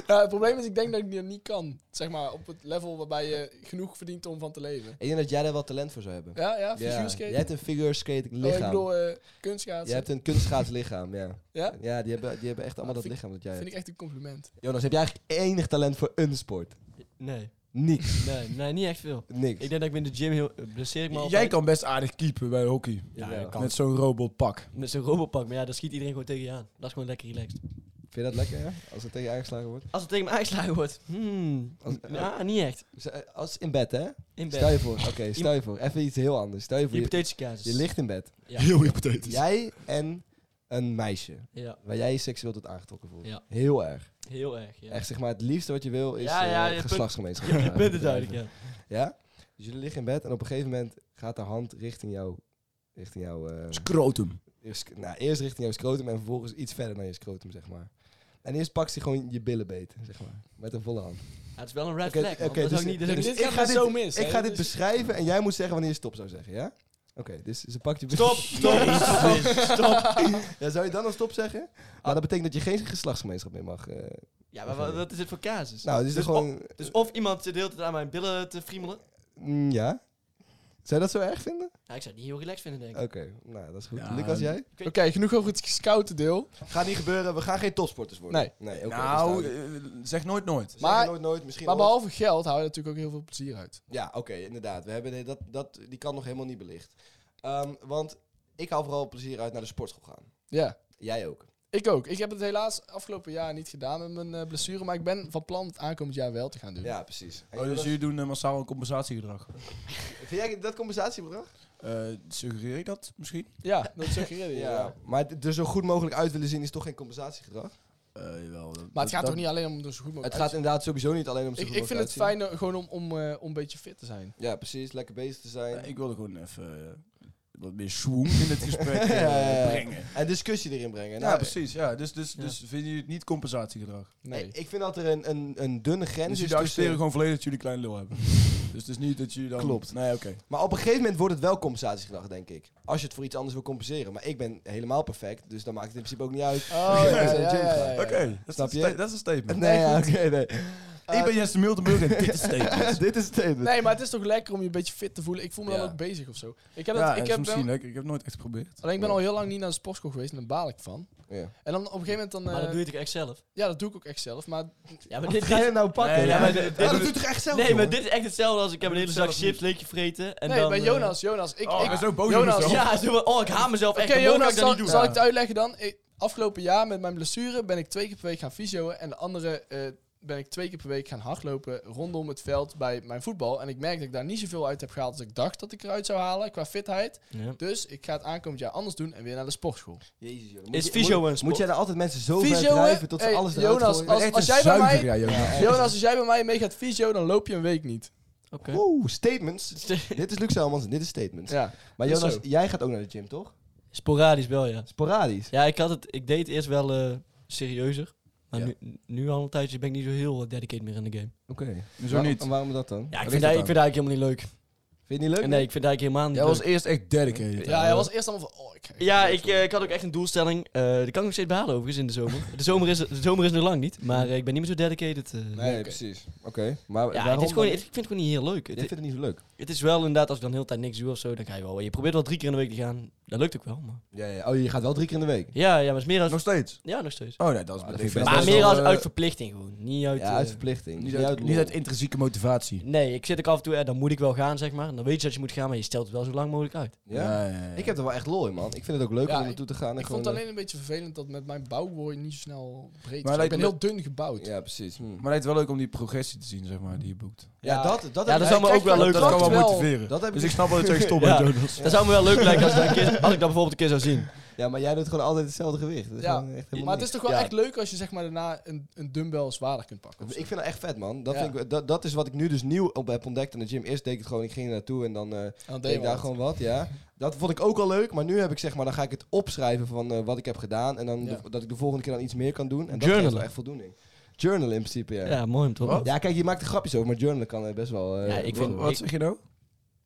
[SPEAKER 4] Ja, het probleem is, ik denk dat ik dat niet kan. Zeg maar, op het level waarbij je genoeg verdient om van te leven.
[SPEAKER 2] Ik denk dat jij daar wel talent voor zou hebben.
[SPEAKER 4] Ja, ja,
[SPEAKER 2] Ja,
[SPEAKER 4] figuurskating.
[SPEAKER 2] Jij hebt een figure skate
[SPEAKER 4] Oh, ik
[SPEAKER 2] lichaam.
[SPEAKER 4] bedoel, eh, kunstschaatsen.
[SPEAKER 2] je hebt een kunstschaatslichaam, ja.
[SPEAKER 4] Ja?
[SPEAKER 2] Ja, die hebben, die hebben echt allemaal
[SPEAKER 4] Ah,
[SPEAKER 2] dat lichaam dat jij
[SPEAKER 4] vind
[SPEAKER 2] hebt.
[SPEAKER 4] ik echt een compliment.
[SPEAKER 2] Jonas, heb jij eigenlijk enig talent voor een sport?
[SPEAKER 5] Nee,
[SPEAKER 2] Niks.
[SPEAKER 5] nee, nee, niet echt veel.
[SPEAKER 2] Niks.
[SPEAKER 5] Ik denk dat ik me in de gym heel... eh, blesseer ik me altijd.
[SPEAKER 3] Jij kan best aardig keepen bij hockey.
[SPEAKER 5] Ja, ja, kan.
[SPEAKER 3] Met zo'n robotpak.
[SPEAKER 5] Met zo'n robotpak, maar ja, daar schiet iedereen gewoon tegen je aan. Dat is gewoon lekker relaxed.
[SPEAKER 2] Vind je dat lekker, ja? Als het tegen je aangeslagen wordt?
[SPEAKER 5] Als het tegen me aangeslagen wordt, hmm,
[SPEAKER 2] Als-
[SPEAKER 5] ja, niet echt.
[SPEAKER 2] Z- Als in bed, hè?
[SPEAKER 5] In
[SPEAKER 2] Stel
[SPEAKER 5] bed.
[SPEAKER 2] je voor, oké, stel je voor. Even iets heel anders. Stel je voor, je,
[SPEAKER 5] Hypothetische casus.
[SPEAKER 2] je ligt in bed.
[SPEAKER 5] Ja.
[SPEAKER 3] Heel hypothetisch.
[SPEAKER 2] Jij en een meisje.
[SPEAKER 5] Ja,
[SPEAKER 2] Waar jij je seksueel tot aangetrokken voelt.
[SPEAKER 5] Ja.
[SPEAKER 2] Heel erg.
[SPEAKER 5] heel erg. Ja.
[SPEAKER 2] Echt, zeg maar, het liefste wat je wil is
[SPEAKER 5] Ja,
[SPEAKER 2] ja,
[SPEAKER 5] ja, je punt-
[SPEAKER 2] geslachtsgemeenschap.
[SPEAKER 5] Je bent het duidelijk, ja.
[SPEAKER 2] Ja? Dus jullie liggen in bed en op een gegeven moment gaat haar hand richting jouw Richting jouw... eh,
[SPEAKER 3] Scrotum.
[SPEAKER 2] eerst, nou, eerst richting jouw scrotum en vervolgens iets verder naar je scrotum, zeg maar. En eerst pakt hij gewoon je billen beet, zeg maar. Met een volle hand.
[SPEAKER 5] Ja, het is wel een red
[SPEAKER 2] Oké,
[SPEAKER 5] flag. man.
[SPEAKER 2] oké,
[SPEAKER 5] dat
[SPEAKER 2] dus-
[SPEAKER 5] zou ik niet... dat zou ik
[SPEAKER 4] Dus
[SPEAKER 5] niet-
[SPEAKER 4] dit gaat
[SPEAKER 2] ga
[SPEAKER 4] dus zo mis.
[SPEAKER 2] Ik
[SPEAKER 4] hè?
[SPEAKER 2] ga dit
[SPEAKER 4] Dus-
[SPEAKER 2] beschrijven en jij moet zeggen wanneer je stop zou zeggen, ja? Oké, dus ze pakt je...
[SPEAKER 5] Stop, stop, stop, stop.
[SPEAKER 2] Ja, zou je dan al stop zeggen? Maar dat betekent dat je geen geslachtsgemeenschap meer mag. eh.
[SPEAKER 5] Ja, maar wat, wat is dit voor casus?
[SPEAKER 2] nou, dus,
[SPEAKER 5] dus,
[SPEAKER 2] gewoon...
[SPEAKER 5] of, dus of iemand zit de hele tijd aan mijn billen te friemelen.
[SPEAKER 2] Mm, ja. Zou je dat zo erg vinden?
[SPEAKER 5] Nou, ik zou het niet heel relaxed vinden, denk ik.
[SPEAKER 2] Oké, nou, dat is goed.
[SPEAKER 3] Ja,
[SPEAKER 2] Lucas, jij?
[SPEAKER 4] Oké, genoeg over het scouten deel.
[SPEAKER 2] Gaat niet gebeuren, we gaan geen topsporters worden.
[SPEAKER 4] Nee.
[SPEAKER 2] nee oké,
[SPEAKER 3] nou,
[SPEAKER 2] verstaan.
[SPEAKER 3] eh, zeg nooit nooit.
[SPEAKER 2] Zeggen
[SPEAKER 4] maar-
[SPEAKER 2] nooit, nooit, misschien
[SPEAKER 4] Maar
[SPEAKER 2] ooit.
[SPEAKER 4] behalve geld hou je natuurlijk ook heel veel plezier uit.
[SPEAKER 2] Ja, oké, inderdaad. We hebben dat, dat, die kan nog helemaal niet belicht. Ehm, want ik haal vooral plezier uit naar de sportschool gaan.
[SPEAKER 4] Ja.
[SPEAKER 2] Jij ook.
[SPEAKER 4] Ik ook. Ik heb het helaas afgelopen jaar niet gedaan met mijn eh, blessure. Maar ik ben van plan het aankomend jaar wel te gaan doen.
[SPEAKER 2] Ja, precies. En
[SPEAKER 3] Oh, dus
[SPEAKER 2] Jonas,
[SPEAKER 3] jullie doen eh, massaal een compensatiegedrag.
[SPEAKER 2] Vind jij dat compensatiebedrag?
[SPEAKER 3] Eh, suggereer ik dat misschien?
[SPEAKER 4] Ja, dat suggereerde je. Ja.
[SPEAKER 2] Maar het er zo goed mogelijk uit willen zien is toch geen compensatiegedrag?
[SPEAKER 3] Eh,
[SPEAKER 4] Maar het gaat toch niet alleen om er zo goed
[SPEAKER 2] Het
[SPEAKER 4] mogelijk
[SPEAKER 2] gaat
[SPEAKER 4] uit
[SPEAKER 2] inderdaad sowieso niet alleen om zo
[SPEAKER 4] te zien?
[SPEAKER 2] goed
[SPEAKER 4] Ik, ik vind
[SPEAKER 2] mogelijk
[SPEAKER 4] het
[SPEAKER 2] uitzien.
[SPEAKER 4] fijn eh, gewoon om, om, eh, om een beetje fit te zijn.
[SPEAKER 2] Ja, precies. Lekker bezig te zijn.
[SPEAKER 3] ik wilde gewoon even eh, wat meer swoon in het gesprek eh,
[SPEAKER 2] Ja, ja, ja.
[SPEAKER 3] brengen.
[SPEAKER 2] En discussie erin brengen.
[SPEAKER 3] Ja,
[SPEAKER 2] Nou,
[SPEAKER 3] precies. Ja. Dus, dus, dus vinden jullie het niet compensatiegedrag?
[SPEAKER 4] Nee.
[SPEAKER 2] ik- Ik vind dat er een, een, een dunne grens
[SPEAKER 3] dus
[SPEAKER 2] is
[SPEAKER 3] jullie accepteren
[SPEAKER 2] tussen...
[SPEAKER 3] gewoon volledig dat jullie klein lul hebben. dus het is niet dat jullie dan...
[SPEAKER 2] eh, Klopt.
[SPEAKER 3] Nee, oké.
[SPEAKER 2] Maar op een gegeven moment wordt het wel compensatiegedrag, denk ik. Als je het voor iets anders wil compenseren. Maar ik ben helemaal perfect, dus dan maakt het in principe ook niet uit.
[SPEAKER 4] Oh, ja,
[SPEAKER 2] Dus
[SPEAKER 4] ja,
[SPEAKER 2] een
[SPEAKER 4] ja,
[SPEAKER 2] gym
[SPEAKER 4] ja,
[SPEAKER 2] gaan.
[SPEAKER 4] ja.
[SPEAKER 3] Oké, dat, is
[SPEAKER 2] Snap
[SPEAKER 3] een
[SPEAKER 2] je?
[SPEAKER 3] sta- dat is een statement.
[SPEAKER 2] Nee, ja, oké, nee.
[SPEAKER 3] ik ben Jesse Miltenburg en dit is statement.
[SPEAKER 2] Dit is het statement.
[SPEAKER 4] Nee, maar het is toch lekker om je een beetje fit te voelen. Ik voel me
[SPEAKER 2] Ja.
[SPEAKER 4] dan ook bezig of zo. Ik heb, dat,
[SPEAKER 3] Ja,
[SPEAKER 4] ik
[SPEAKER 3] is
[SPEAKER 4] heb wel-
[SPEAKER 3] misschien lekker. Ik heb nooit echt geprobeerd.
[SPEAKER 4] alleen ik ben al heel lang niet naar de sportschool geweest en daar baal ik van.
[SPEAKER 2] Ja.
[SPEAKER 4] En dan op een gegeven moment dan...
[SPEAKER 5] Maar
[SPEAKER 4] eh,
[SPEAKER 5] dat doe je toch echt zelf?
[SPEAKER 4] Ja, dat doe ik ook echt zelf. Maar
[SPEAKER 5] Ja, maar dit,
[SPEAKER 2] Ga je nou pakken?
[SPEAKER 5] Nee, ja, maar dit- dit-
[SPEAKER 2] dat doet toch echt zelf,
[SPEAKER 5] nee, maar
[SPEAKER 2] jongen?
[SPEAKER 5] dit is echt hetzelfde als ik heb een hele zak
[SPEAKER 3] zelf
[SPEAKER 5] chips leeg vreten. En
[SPEAKER 4] nee,
[SPEAKER 5] dan,
[SPEAKER 4] bij
[SPEAKER 5] eh,
[SPEAKER 4] Jonas, Jonas. Ik,
[SPEAKER 3] Oh,
[SPEAKER 4] ik,
[SPEAKER 3] ik ben zo boos op
[SPEAKER 4] Jonas,
[SPEAKER 3] mezelf.
[SPEAKER 5] ja, zo van, oh, ik haat mezelf echt.
[SPEAKER 4] Oké,
[SPEAKER 5] dat mogen
[SPEAKER 4] Jonas,
[SPEAKER 5] ik dat
[SPEAKER 4] zal,
[SPEAKER 5] niet doen.
[SPEAKER 4] zal ik het uitleggen dan? Ik- afgelopen jaar met mijn blessure ben ik twee keer per week gaan fysioen. En de andere eh, ben ik twee keer per week gaan hardlopen rondom het veld bij mijn voetbal. En ik merk dat ik daar niet zoveel uit heb gehaald als ik dacht dat ik eruit zou halen qua fitheid.
[SPEAKER 5] Ja.
[SPEAKER 4] Dus ik ga het aankomend jaar anders doen en weer naar de sportschool.
[SPEAKER 2] Jezus, jongen.
[SPEAKER 5] Is
[SPEAKER 2] Moet je-
[SPEAKER 5] fysio
[SPEAKER 2] moet-
[SPEAKER 5] een sport?
[SPEAKER 2] Moet jij daar altijd mensen zo ver
[SPEAKER 4] Fysioen,
[SPEAKER 2] drijven tot ze
[SPEAKER 4] hey,
[SPEAKER 2] alles eruit
[SPEAKER 4] Jonas,
[SPEAKER 2] gooien?
[SPEAKER 4] als-
[SPEAKER 3] Echt
[SPEAKER 4] als
[SPEAKER 3] een
[SPEAKER 4] jij bij mij-
[SPEAKER 3] zuiger, ja, Jonas.
[SPEAKER 4] Jonas, als jij bij mij mee gaat fysio, dan loop je een week niet.
[SPEAKER 5] Oké.
[SPEAKER 2] Oeh, statements. dit is Luc Selmans en dit is statements.
[SPEAKER 4] Ja.
[SPEAKER 2] Maar
[SPEAKER 4] dat is
[SPEAKER 2] Jonas,
[SPEAKER 4] zo.
[SPEAKER 2] jij gaat ook naar de gym, toch?
[SPEAKER 5] Sporadisch wel, ja.
[SPEAKER 2] Sporadisch.
[SPEAKER 5] Ja, ik, had het, ik deed het eerst wel eh, serieuzer. Maar
[SPEAKER 2] Ja.
[SPEAKER 5] nu, nu al een tijdje ben ik niet zo heel eh, dedicated meer in de game.
[SPEAKER 2] Oké.
[SPEAKER 3] Zo
[SPEAKER 2] Waar-
[SPEAKER 3] niet.
[SPEAKER 2] En waarom dat dan?
[SPEAKER 5] Ja, ik
[SPEAKER 3] ligt
[SPEAKER 5] vind,
[SPEAKER 3] het
[SPEAKER 5] dat, ik vind dat eigenlijk helemaal niet leuk.
[SPEAKER 2] Vind je het niet leuk?
[SPEAKER 5] nee, ik vind dat eigenlijk helemaal niet
[SPEAKER 3] Jij
[SPEAKER 5] leuk.
[SPEAKER 3] was eerst echt dedicated.
[SPEAKER 4] Ja, hij was eerst allemaal van, oh, ik ga-
[SPEAKER 5] Ja, ik, eh, ik had ook echt een doelstelling. Eh die kan ik nog steeds behalen overigens in de zomer. De zomer is, de zomer is nog lang niet, maar eh, ik ben niet meer zo dedicated. eh.
[SPEAKER 2] Nee, precies. Oké, maar
[SPEAKER 5] ja, het
[SPEAKER 2] waarom
[SPEAKER 5] is gewoon,
[SPEAKER 2] dan?
[SPEAKER 5] ik vind het gewoon niet heel leuk.
[SPEAKER 2] Jij vindt
[SPEAKER 5] Het,
[SPEAKER 2] het niet zo leuk?
[SPEAKER 5] het is wel inderdaad, als ik dan heel de tijd niks doe of zo, dan ga je wel. Je probeert wel drie keer in de week te gaan. Dat lukt ook wel. Maar.
[SPEAKER 2] Ja, ja. Oh, je gaat wel drie keer in de week?
[SPEAKER 5] Ja, ja, maar het is meer als.
[SPEAKER 3] Nog steeds?
[SPEAKER 5] ja, nog steeds.
[SPEAKER 3] Oh nee, dat is
[SPEAKER 2] dat
[SPEAKER 3] ik
[SPEAKER 2] vind ik
[SPEAKER 3] vind
[SPEAKER 2] best
[SPEAKER 5] maar
[SPEAKER 3] dat
[SPEAKER 5] meer
[SPEAKER 3] wel,
[SPEAKER 5] als
[SPEAKER 3] eh,
[SPEAKER 5] uit verplichting gewoon. Niet uit.
[SPEAKER 2] Ja,
[SPEAKER 5] eh,
[SPEAKER 2] uit verplichting.
[SPEAKER 3] Niet uit,
[SPEAKER 2] lol.
[SPEAKER 3] niet uit intrinsieke motivatie.
[SPEAKER 5] nee, ik zit ook af en toe, eh, dan moet ik wel gaan, zeg maar. Dan weet je dat je moet gaan, maar je stelt het wel zo lang mogelijk uit.
[SPEAKER 2] Ja?
[SPEAKER 3] ja, ja.
[SPEAKER 2] Ik heb er wel echt lol in, man. Ik vind het ook leuk
[SPEAKER 4] Ja,
[SPEAKER 2] om naartoe te gaan. En
[SPEAKER 4] Ik
[SPEAKER 2] gewoon, eh,
[SPEAKER 4] vond het alleen een beetje vervelend dat met mijn bouw word je niet zo snel breed.
[SPEAKER 3] Maar
[SPEAKER 4] Maar ik
[SPEAKER 3] lijkt
[SPEAKER 4] ben
[SPEAKER 3] me-
[SPEAKER 4] heel dun gebouwd.
[SPEAKER 2] eh, Ja, precies. Hm.
[SPEAKER 3] Maar het is wel leuk om die progressie te zien, zeg maar, die je boekt.
[SPEAKER 2] Ja,
[SPEAKER 4] Ja.
[SPEAKER 2] dat, dat
[SPEAKER 5] Ja,
[SPEAKER 2] heb
[SPEAKER 5] dat
[SPEAKER 2] ik-
[SPEAKER 5] zou me ook wel leuk
[SPEAKER 3] Dat kan
[SPEAKER 5] lijken.
[SPEAKER 3] wel
[SPEAKER 4] wel-
[SPEAKER 3] motiveren.
[SPEAKER 2] dat heb
[SPEAKER 3] dus
[SPEAKER 2] ik-
[SPEAKER 3] ik snap wel dat je echt
[SPEAKER 2] Oh,
[SPEAKER 3] stop
[SPEAKER 5] Ja.
[SPEAKER 3] bent, Jonas.
[SPEAKER 5] Dat zou me wel leuk lijken als, ik dat een keer- als ik dat bijvoorbeeld een keer zou zien.
[SPEAKER 2] Ja, maar jij doet gewoon altijd hetzelfde gewicht. Dat is
[SPEAKER 4] Ja,
[SPEAKER 2] gewoon echt helemaal
[SPEAKER 4] maar het
[SPEAKER 2] niks.
[SPEAKER 4] is toch wel
[SPEAKER 5] Ja.
[SPEAKER 4] echt leuk als je zeg maar daarna een, een dumbbell zwaarder kunt pakken. of zo.
[SPEAKER 2] Ik vind dat echt vet, man. Dat,
[SPEAKER 4] Ja.
[SPEAKER 2] vind ik, dat, dat is wat ik nu dus nieuw op heb ontdekt in de gym. Eerst deed ik het gewoon, ik ging er naartoe en dan eh,
[SPEAKER 4] En dan
[SPEAKER 2] deed ik
[SPEAKER 4] deed
[SPEAKER 2] daar
[SPEAKER 4] gewoon.
[SPEAKER 2] gewoon wat, ja. Dat vond ik ook al leuk, maar nu heb ik zeg maar, dan ga ik het opschrijven van eh, wat ik heb gedaan. En dan
[SPEAKER 4] Ja.
[SPEAKER 2] de- dat ik de volgende keer dan iets meer kan doen. En dat geeft
[SPEAKER 5] Journalen.
[SPEAKER 2] wel echt voldoening. Journal in principe, ja.
[SPEAKER 5] Ja, mooi om te horen.
[SPEAKER 2] Ja, kijk, je maakt er grapjes over, maar journalen kan eh, best wel... eh,
[SPEAKER 5] Ja, ik
[SPEAKER 3] Wat,
[SPEAKER 5] vind-
[SPEAKER 3] wat zeg je nou?
[SPEAKER 5] Het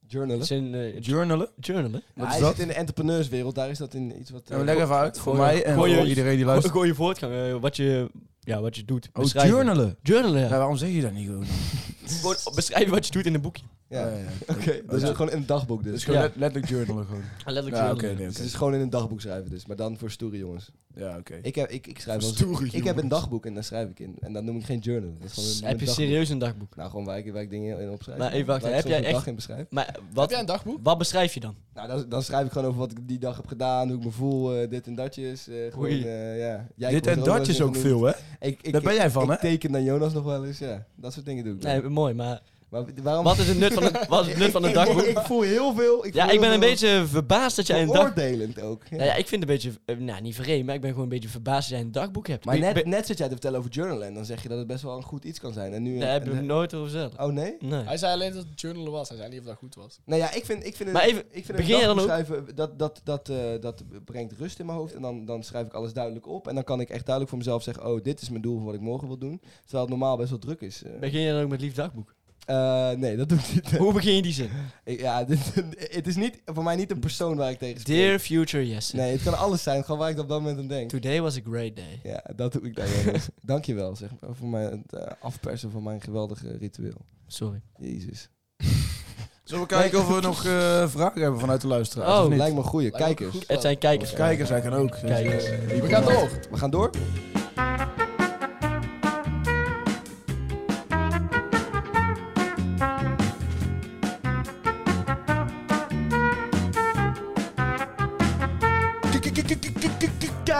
[SPEAKER 2] Journalen.
[SPEAKER 5] zijn eh,
[SPEAKER 3] Journalen?
[SPEAKER 5] journalen.
[SPEAKER 2] Ja,
[SPEAKER 3] is
[SPEAKER 2] hij
[SPEAKER 3] dat?
[SPEAKER 2] zit in de entrepreneurswereld, daar is dat in iets wat... eh,
[SPEAKER 3] leg even uit voor
[SPEAKER 5] Gooi-
[SPEAKER 3] mij en
[SPEAKER 5] gooi je-
[SPEAKER 3] voor iedereen die luistert.
[SPEAKER 5] Gooi je voortgang, eh, wat, je, ja, wat je doet.
[SPEAKER 3] Oh,
[SPEAKER 5] Beschrijven.
[SPEAKER 3] journalen.
[SPEAKER 5] Journalen, ja.
[SPEAKER 3] Ja, waarom zeg je dat niet gewoon?
[SPEAKER 5] Gewoon Beschrijven wat je doet in een boekje.
[SPEAKER 2] ja.
[SPEAKER 3] Ja, ja.
[SPEAKER 2] Oké, dat is
[SPEAKER 3] Ja.
[SPEAKER 2] gewoon in een dagboek dus.
[SPEAKER 3] Dus gewoon
[SPEAKER 5] Ja.
[SPEAKER 3] let- letterlijk journalen gewoon.
[SPEAKER 5] letterlijk
[SPEAKER 3] Ja, oké, nee,
[SPEAKER 2] Dus
[SPEAKER 3] oké.
[SPEAKER 2] het is gewoon in een dagboek schrijven dus, maar dan voor stoere jongens.
[SPEAKER 3] Ja, oké.
[SPEAKER 2] Ik, heb, ik, ik schrijf wel eens-
[SPEAKER 3] Stoere
[SPEAKER 2] Ik heb
[SPEAKER 3] jongens.
[SPEAKER 2] een dagboek en daar schrijf ik in. En dat noem ik geen journal. Dat is gewoon een,
[SPEAKER 5] Heb je
[SPEAKER 2] dagboek.
[SPEAKER 5] serieus een dagboek?
[SPEAKER 2] Nou, gewoon waar ik, waar ik dingen in opschrijf.
[SPEAKER 3] Nou,
[SPEAKER 5] Maar even wachten,
[SPEAKER 2] Waar ik
[SPEAKER 5] heb
[SPEAKER 2] soms
[SPEAKER 5] jij
[SPEAKER 2] een dag
[SPEAKER 5] echt-
[SPEAKER 2] in beschrijf.
[SPEAKER 5] Maar
[SPEAKER 4] Heb
[SPEAKER 5] wat,
[SPEAKER 4] jij een dagboek?
[SPEAKER 5] wat beschrijf je dan?
[SPEAKER 2] Nou, dan, dan schrijf ik gewoon over wat ik die dag heb gedaan, hoe ik me voel, eh, dit en datjes. eh, gewoon,
[SPEAKER 5] Oei.
[SPEAKER 2] eh, ja. Jij
[SPEAKER 3] Dit
[SPEAKER 2] komt er
[SPEAKER 3] en
[SPEAKER 2] wel
[SPEAKER 3] dat
[SPEAKER 2] eens
[SPEAKER 3] is
[SPEAKER 2] in
[SPEAKER 3] ook
[SPEAKER 2] genoemd.
[SPEAKER 3] veel, hè?
[SPEAKER 2] Ik, ik,
[SPEAKER 3] Daar ben jij van,
[SPEAKER 2] ik
[SPEAKER 3] hè?
[SPEAKER 2] teken dan Jonas nog wel eens, ja. Dat soort dingen doe ik. dan.
[SPEAKER 5] Nee, mooi, maar
[SPEAKER 2] Maar waarom...
[SPEAKER 5] Wat is het nut van het, wat is het nut van het dagboek?
[SPEAKER 2] Ik, ik voel heel veel... Ik
[SPEAKER 5] ja,
[SPEAKER 2] voel
[SPEAKER 5] ik ben
[SPEAKER 2] heel
[SPEAKER 5] een
[SPEAKER 2] veel
[SPEAKER 5] beetje verbaasd dat jij een dag...
[SPEAKER 2] Veroordelend ook. Ja.
[SPEAKER 5] Nou ja, ik vind het een beetje... eh, nou, niet vreemd, maar ik ben gewoon een beetje verbaasd dat jij een dagboek hebt.
[SPEAKER 2] Maar
[SPEAKER 5] Ben-
[SPEAKER 2] net,
[SPEAKER 5] ben-
[SPEAKER 2] net zit jij te vertellen over journalen en dan zeg je dat het best wel een goed iets kan zijn. En nu...
[SPEAKER 5] Daar heb ik nog nooit over gezegd.
[SPEAKER 2] Oh nee?
[SPEAKER 5] Nee.
[SPEAKER 4] Hij zei alleen dat het journal was. Hij zei niet of dat goed was.
[SPEAKER 2] Nou ja, ik vind, ik vind
[SPEAKER 5] Maar even,
[SPEAKER 2] ik vind
[SPEAKER 5] begin je dan
[SPEAKER 2] dagboek
[SPEAKER 5] ook?
[SPEAKER 2] schrijven, dat, dat, dat, eh, dat brengt rust in mijn hoofd. En dan, dan schrijf ik alles duidelijk op. En dan kan ik echt duidelijk voor mezelf zeggen, oh, dit is mijn doel voor wat ik morgen wil doen. Terwijl het normaal best wel druk is. eh.
[SPEAKER 5] Begin je dan ook met lief dagboek?
[SPEAKER 2] Eh, nee, dat doe ik niet.
[SPEAKER 5] Hoe begin je die zin?
[SPEAKER 2] Ik- Ja, dit- het is niet, voor mij niet een persoon waar ik tegen spreek.
[SPEAKER 5] Dear future yes.
[SPEAKER 2] Nee, het kan alles zijn, gewoon waar ik op dat moment aan denk.
[SPEAKER 5] Today was a great day.
[SPEAKER 2] Ja, dat doe ik dan wel eens. Dankjewel, zeg maar, voor mijn, het eh, afpersen van mijn geweldige ritueel.
[SPEAKER 5] Sorry.
[SPEAKER 2] Jezus.
[SPEAKER 3] Zullen we kijken of we nog eh, vragen hebben vanuit de luisteraars?
[SPEAKER 5] Oh,
[SPEAKER 3] of niet?
[SPEAKER 2] Lijkt me een goeie.
[SPEAKER 4] Lijkt me ook
[SPEAKER 2] Kijkers.
[SPEAKER 4] goed.
[SPEAKER 5] Het zijn kijkers.
[SPEAKER 3] Kijkers, hij kan ook. Dus,
[SPEAKER 5] Oh. Kijkers.
[SPEAKER 3] eh,
[SPEAKER 4] We gaan door.
[SPEAKER 2] We gaan door.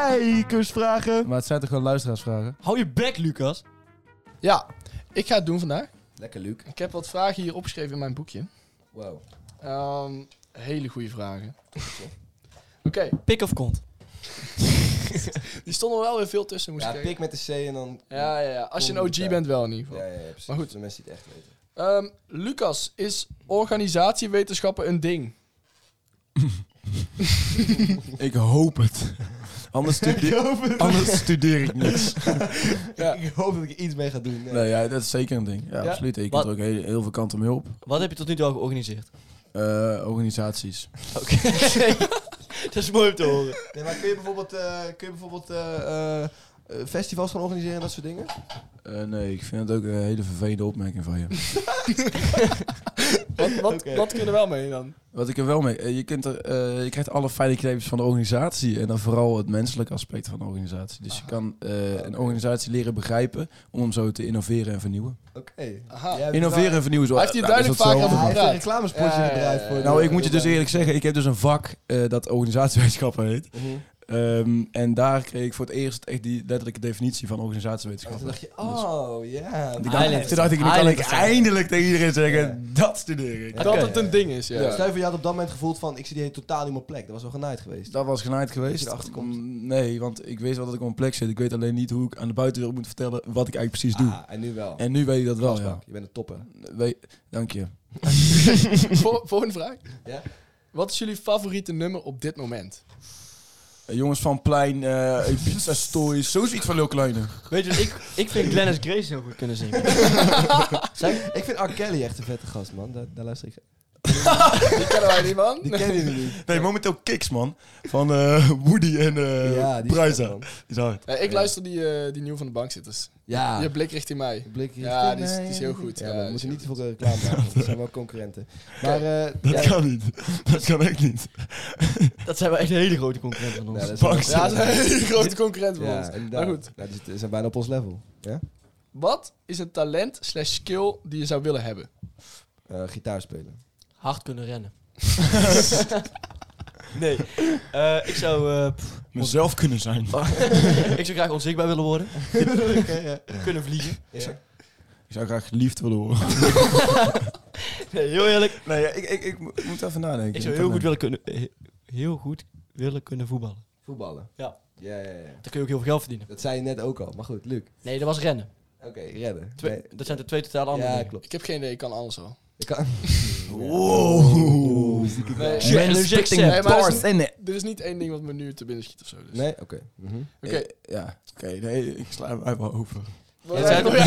[SPEAKER 2] Kijkersvragen.
[SPEAKER 3] Maar het zijn toch gewoon luisteraarsvragen?
[SPEAKER 5] Hou je bek, Lucas.
[SPEAKER 4] Ja, ik ga het doen vandaag.
[SPEAKER 2] Lekker, Luc.
[SPEAKER 4] Ik heb wat vragen hier opgeschreven in mijn boekje.
[SPEAKER 2] Wow.
[SPEAKER 4] Ehm, hele goede vragen. Oké,
[SPEAKER 5] Pik of kont?
[SPEAKER 4] die stonden er wel weer veel tussen. Moest
[SPEAKER 2] Ja,
[SPEAKER 4] ik kijken.
[SPEAKER 2] pik met de C en dan...
[SPEAKER 4] ja, ja, ja. Als je een
[SPEAKER 2] Kom
[SPEAKER 4] OG
[SPEAKER 2] erbij.
[SPEAKER 4] bent wel in ieder geval.
[SPEAKER 2] Ja, ja, ja, precies.
[SPEAKER 4] Maar goed.
[SPEAKER 2] De mensen die het echt weten.
[SPEAKER 4] Ehm, Lucas, is organisatiewetenschappen een ding?
[SPEAKER 3] Ik hoop het. Anders, studeer, anders studeer ik niets.
[SPEAKER 2] Ik hoop dat ik er iets mee ga doen. Nee.
[SPEAKER 3] Nee, ja, dat is zeker een ding. Ja,
[SPEAKER 4] Ja.
[SPEAKER 3] absoluut. Ik
[SPEAKER 5] Wat-
[SPEAKER 3] heb er ook heel, heel veel kanten mee op.
[SPEAKER 5] Wat heb je tot nu toe al georganiseerd?
[SPEAKER 3] Eh, organisaties.
[SPEAKER 5] Oké. dat is mooi om te horen.
[SPEAKER 2] Nee, maar kun je bijvoorbeeld, eh, kun je bijvoorbeeld eh, eh, eh, festivals gaan organiseren en dat soort dingen?
[SPEAKER 3] Eh, nee, ik vind het ook een hele vervelende opmerking van je.
[SPEAKER 4] Wat, wat, wat kun je er wel mee dan?
[SPEAKER 3] Wat ik er wel mee... eh, Je, kunt er, eh, je krijgt alle fijne knepjes van de organisatie. En dan vooral het menselijke aspect van de organisatie.
[SPEAKER 5] Ah.
[SPEAKER 3] Dus je kan eh, een organisatie leren begrijpen om hem zo te innoveren en vernieuwen.
[SPEAKER 2] Oké.
[SPEAKER 4] Aha.
[SPEAKER 2] Jij hebt
[SPEAKER 3] Innoveren en vernieuwen. Zo,
[SPEAKER 4] Hij heeft hier
[SPEAKER 3] nou, dat is
[SPEAKER 4] duidelijk vaker
[SPEAKER 3] hetzelfde,
[SPEAKER 4] over
[SPEAKER 2] Ja, hij
[SPEAKER 3] maar-
[SPEAKER 2] heeft een reclamespotje
[SPEAKER 4] Ja, ja, ja,
[SPEAKER 2] gedraaid
[SPEAKER 4] ja.
[SPEAKER 2] voor de-
[SPEAKER 3] Nou, ik moet je dus eerlijk zeggen, ik heb dus een vak eh, dat organisatiewetenschappen heet.
[SPEAKER 2] Mhm.
[SPEAKER 3] Ehm, en daar kreeg ik voor het eerst echt die letterlijke definitie van
[SPEAKER 2] En toen
[SPEAKER 3] organisatiewetenschappen.
[SPEAKER 2] dacht je, oh ja.
[SPEAKER 3] Toen
[SPEAKER 2] dat-
[SPEAKER 3] dacht-
[SPEAKER 5] Island.
[SPEAKER 3] toen dacht ik, nu kan ik
[SPEAKER 5] Island.
[SPEAKER 3] eindelijk tegen iedereen zeggen, dat studeer ik.
[SPEAKER 2] Ja.
[SPEAKER 4] Dat
[SPEAKER 2] Oké.
[SPEAKER 4] het een ding is, ja.
[SPEAKER 2] Stel je voor, je had op dat moment gevoeld van, ik zit hier totaal niet op mijn plek. Dat was wel genaaid geweest.
[SPEAKER 3] Dat was genaaid geweest.
[SPEAKER 2] Als je erachter komt.
[SPEAKER 3] Mm, Nee, want ik weet wel dat ik op een plek zit. Ik weet alleen niet hoe ik aan de buitenwereld moet vertellen wat ik eigenlijk precies doe.
[SPEAKER 2] Ah, en nu wel.
[SPEAKER 3] En nu weet ik dat wel, ja.
[SPEAKER 2] Asbak, Je bent een topper.
[SPEAKER 3] We- Dank je.
[SPEAKER 4] Vol- volgende vraag.
[SPEAKER 2] Ja?
[SPEAKER 4] Wat is jullie favoriete nummer op dit moment?
[SPEAKER 3] Eh, jongens van Plein, eh Pizza Stories, zoiets van Lil Kleine.
[SPEAKER 5] Weet je wat, ik, ik vind Glennis Grace heel goed kunnen zingen.
[SPEAKER 2] Ik vind R. Kelly echt een vette gast, man. Daar, daar luister ik.
[SPEAKER 4] Die kennen wij niet, man.
[SPEAKER 2] Die ken je niet.
[SPEAKER 3] Nee, momenteel Kicks, man. Van eh, Woody en eh
[SPEAKER 2] Ja, die is
[SPEAKER 3] Prijza.
[SPEAKER 2] vet, man.
[SPEAKER 3] Die is hard.
[SPEAKER 4] Eh, ik luister die, eh, die nieuwe van de bankzitters.
[SPEAKER 2] Ja.
[SPEAKER 4] Je blik richting mij.
[SPEAKER 2] De blik
[SPEAKER 4] Ja, die is- die is heel goed.
[SPEAKER 2] Ja,
[SPEAKER 4] Ja,
[SPEAKER 2] maar we
[SPEAKER 4] die
[SPEAKER 2] moeten
[SPEAKER 4] is
[SPEAKER 2] niet te veel reclame maken. want We zijn wel concurrenten. Maar eh,
[SPEAKER 3] Dat
[SPEAKER 2] ja,
[SPEAKER 3] kan niet. Dat kan echt niet.
[SPEAKER 5] Dat zijn wel echt hele grote concurrenten van
[SPEAKER 2] nou,
[SPEAKER 5] ons.
[SPEAKER 2] dat is
[SPEAKER 3] Bang.
[SPEAKER 4] Ja, ze zijn een hele grote concurrent van
[SPEAKER 2] Ja,
[SPEAKER 4] ons.
[SPEAKER 2] inderdaad.
[SPEAKER 4] Maar goed.
[SPEAKER 2] Ja, die zitten- zijn bijna op ons level. Ja?
[SPEAKER 4] Wat is een talent slash skill die je zou willen hebben?
[SPEAKER 2] Eh, gitaar spelen.
[SPEAKER 5] Hard kunnen rennen. nee. Eh, ik zou... eh, pff,
[SPEAKER 3] Mezelf kunnen zijn.
[SPEAKER 5] ik zou graag onzichtbaar willen worden. Kunnen vliegen.
[SPEAKER 3] Ik zou graag liefd willen horen.
[SPEAKER 5] Nee, heel eerlijk.
[SPEAKER 3] Nee, ja, ik, ik, ik mo- moet even nadenken.
[SPEAKER 5] Ik zou heel goed willen kunnen... eh, Heel goed willen kunnen voetballen.
[SPEAKER 2] Voetballen.
[SPEAKER 5] Ja.
[SPEAKER 2] Ja, ja, ja.
[SPEAKER 5] Dan kun je ook heel veel geld verdienen.
[SPEAKER 2] Dat zei je net ook al. Maar goed, Luc.
[SPEAKER 5] Nee, dat was rennen.
[SPEAKER 2] Oké, redden.
[SPEAKER 5] Twee-
[SPEAKER 2] Nee,
[SPEAKER 5] Dat zijn de twee totaal andere
[SPEAKER 2] ja,
[SPEAKER 5] dingen.
[SPEAKER 2] klopt.
[SPEAKER 4] Ik heb geen idee, ik kan alles al.
[SPEAKER 2] Ik kan...
[SPEAKER 3] Wow.
[SPEAKER 4] Nee,
[SPEAKER 5] Yes, respecting
[SPEAKER 4] nee, maar er, is,
[SPEAKER 3] Bars in it.
[SPEAKER 4] er is niet één ding wat me nu te binnen schiet of zo. Dus.
[SPEAKER 2] Nee? Oké. Mhm.
[SPEAKER 4] Oké.
[SPEAKER 3] Ja, oké. nee, ik sla hem wel over.
[SPEAKER 5] Jij zei
[SPEAKER 4] Oh, ja,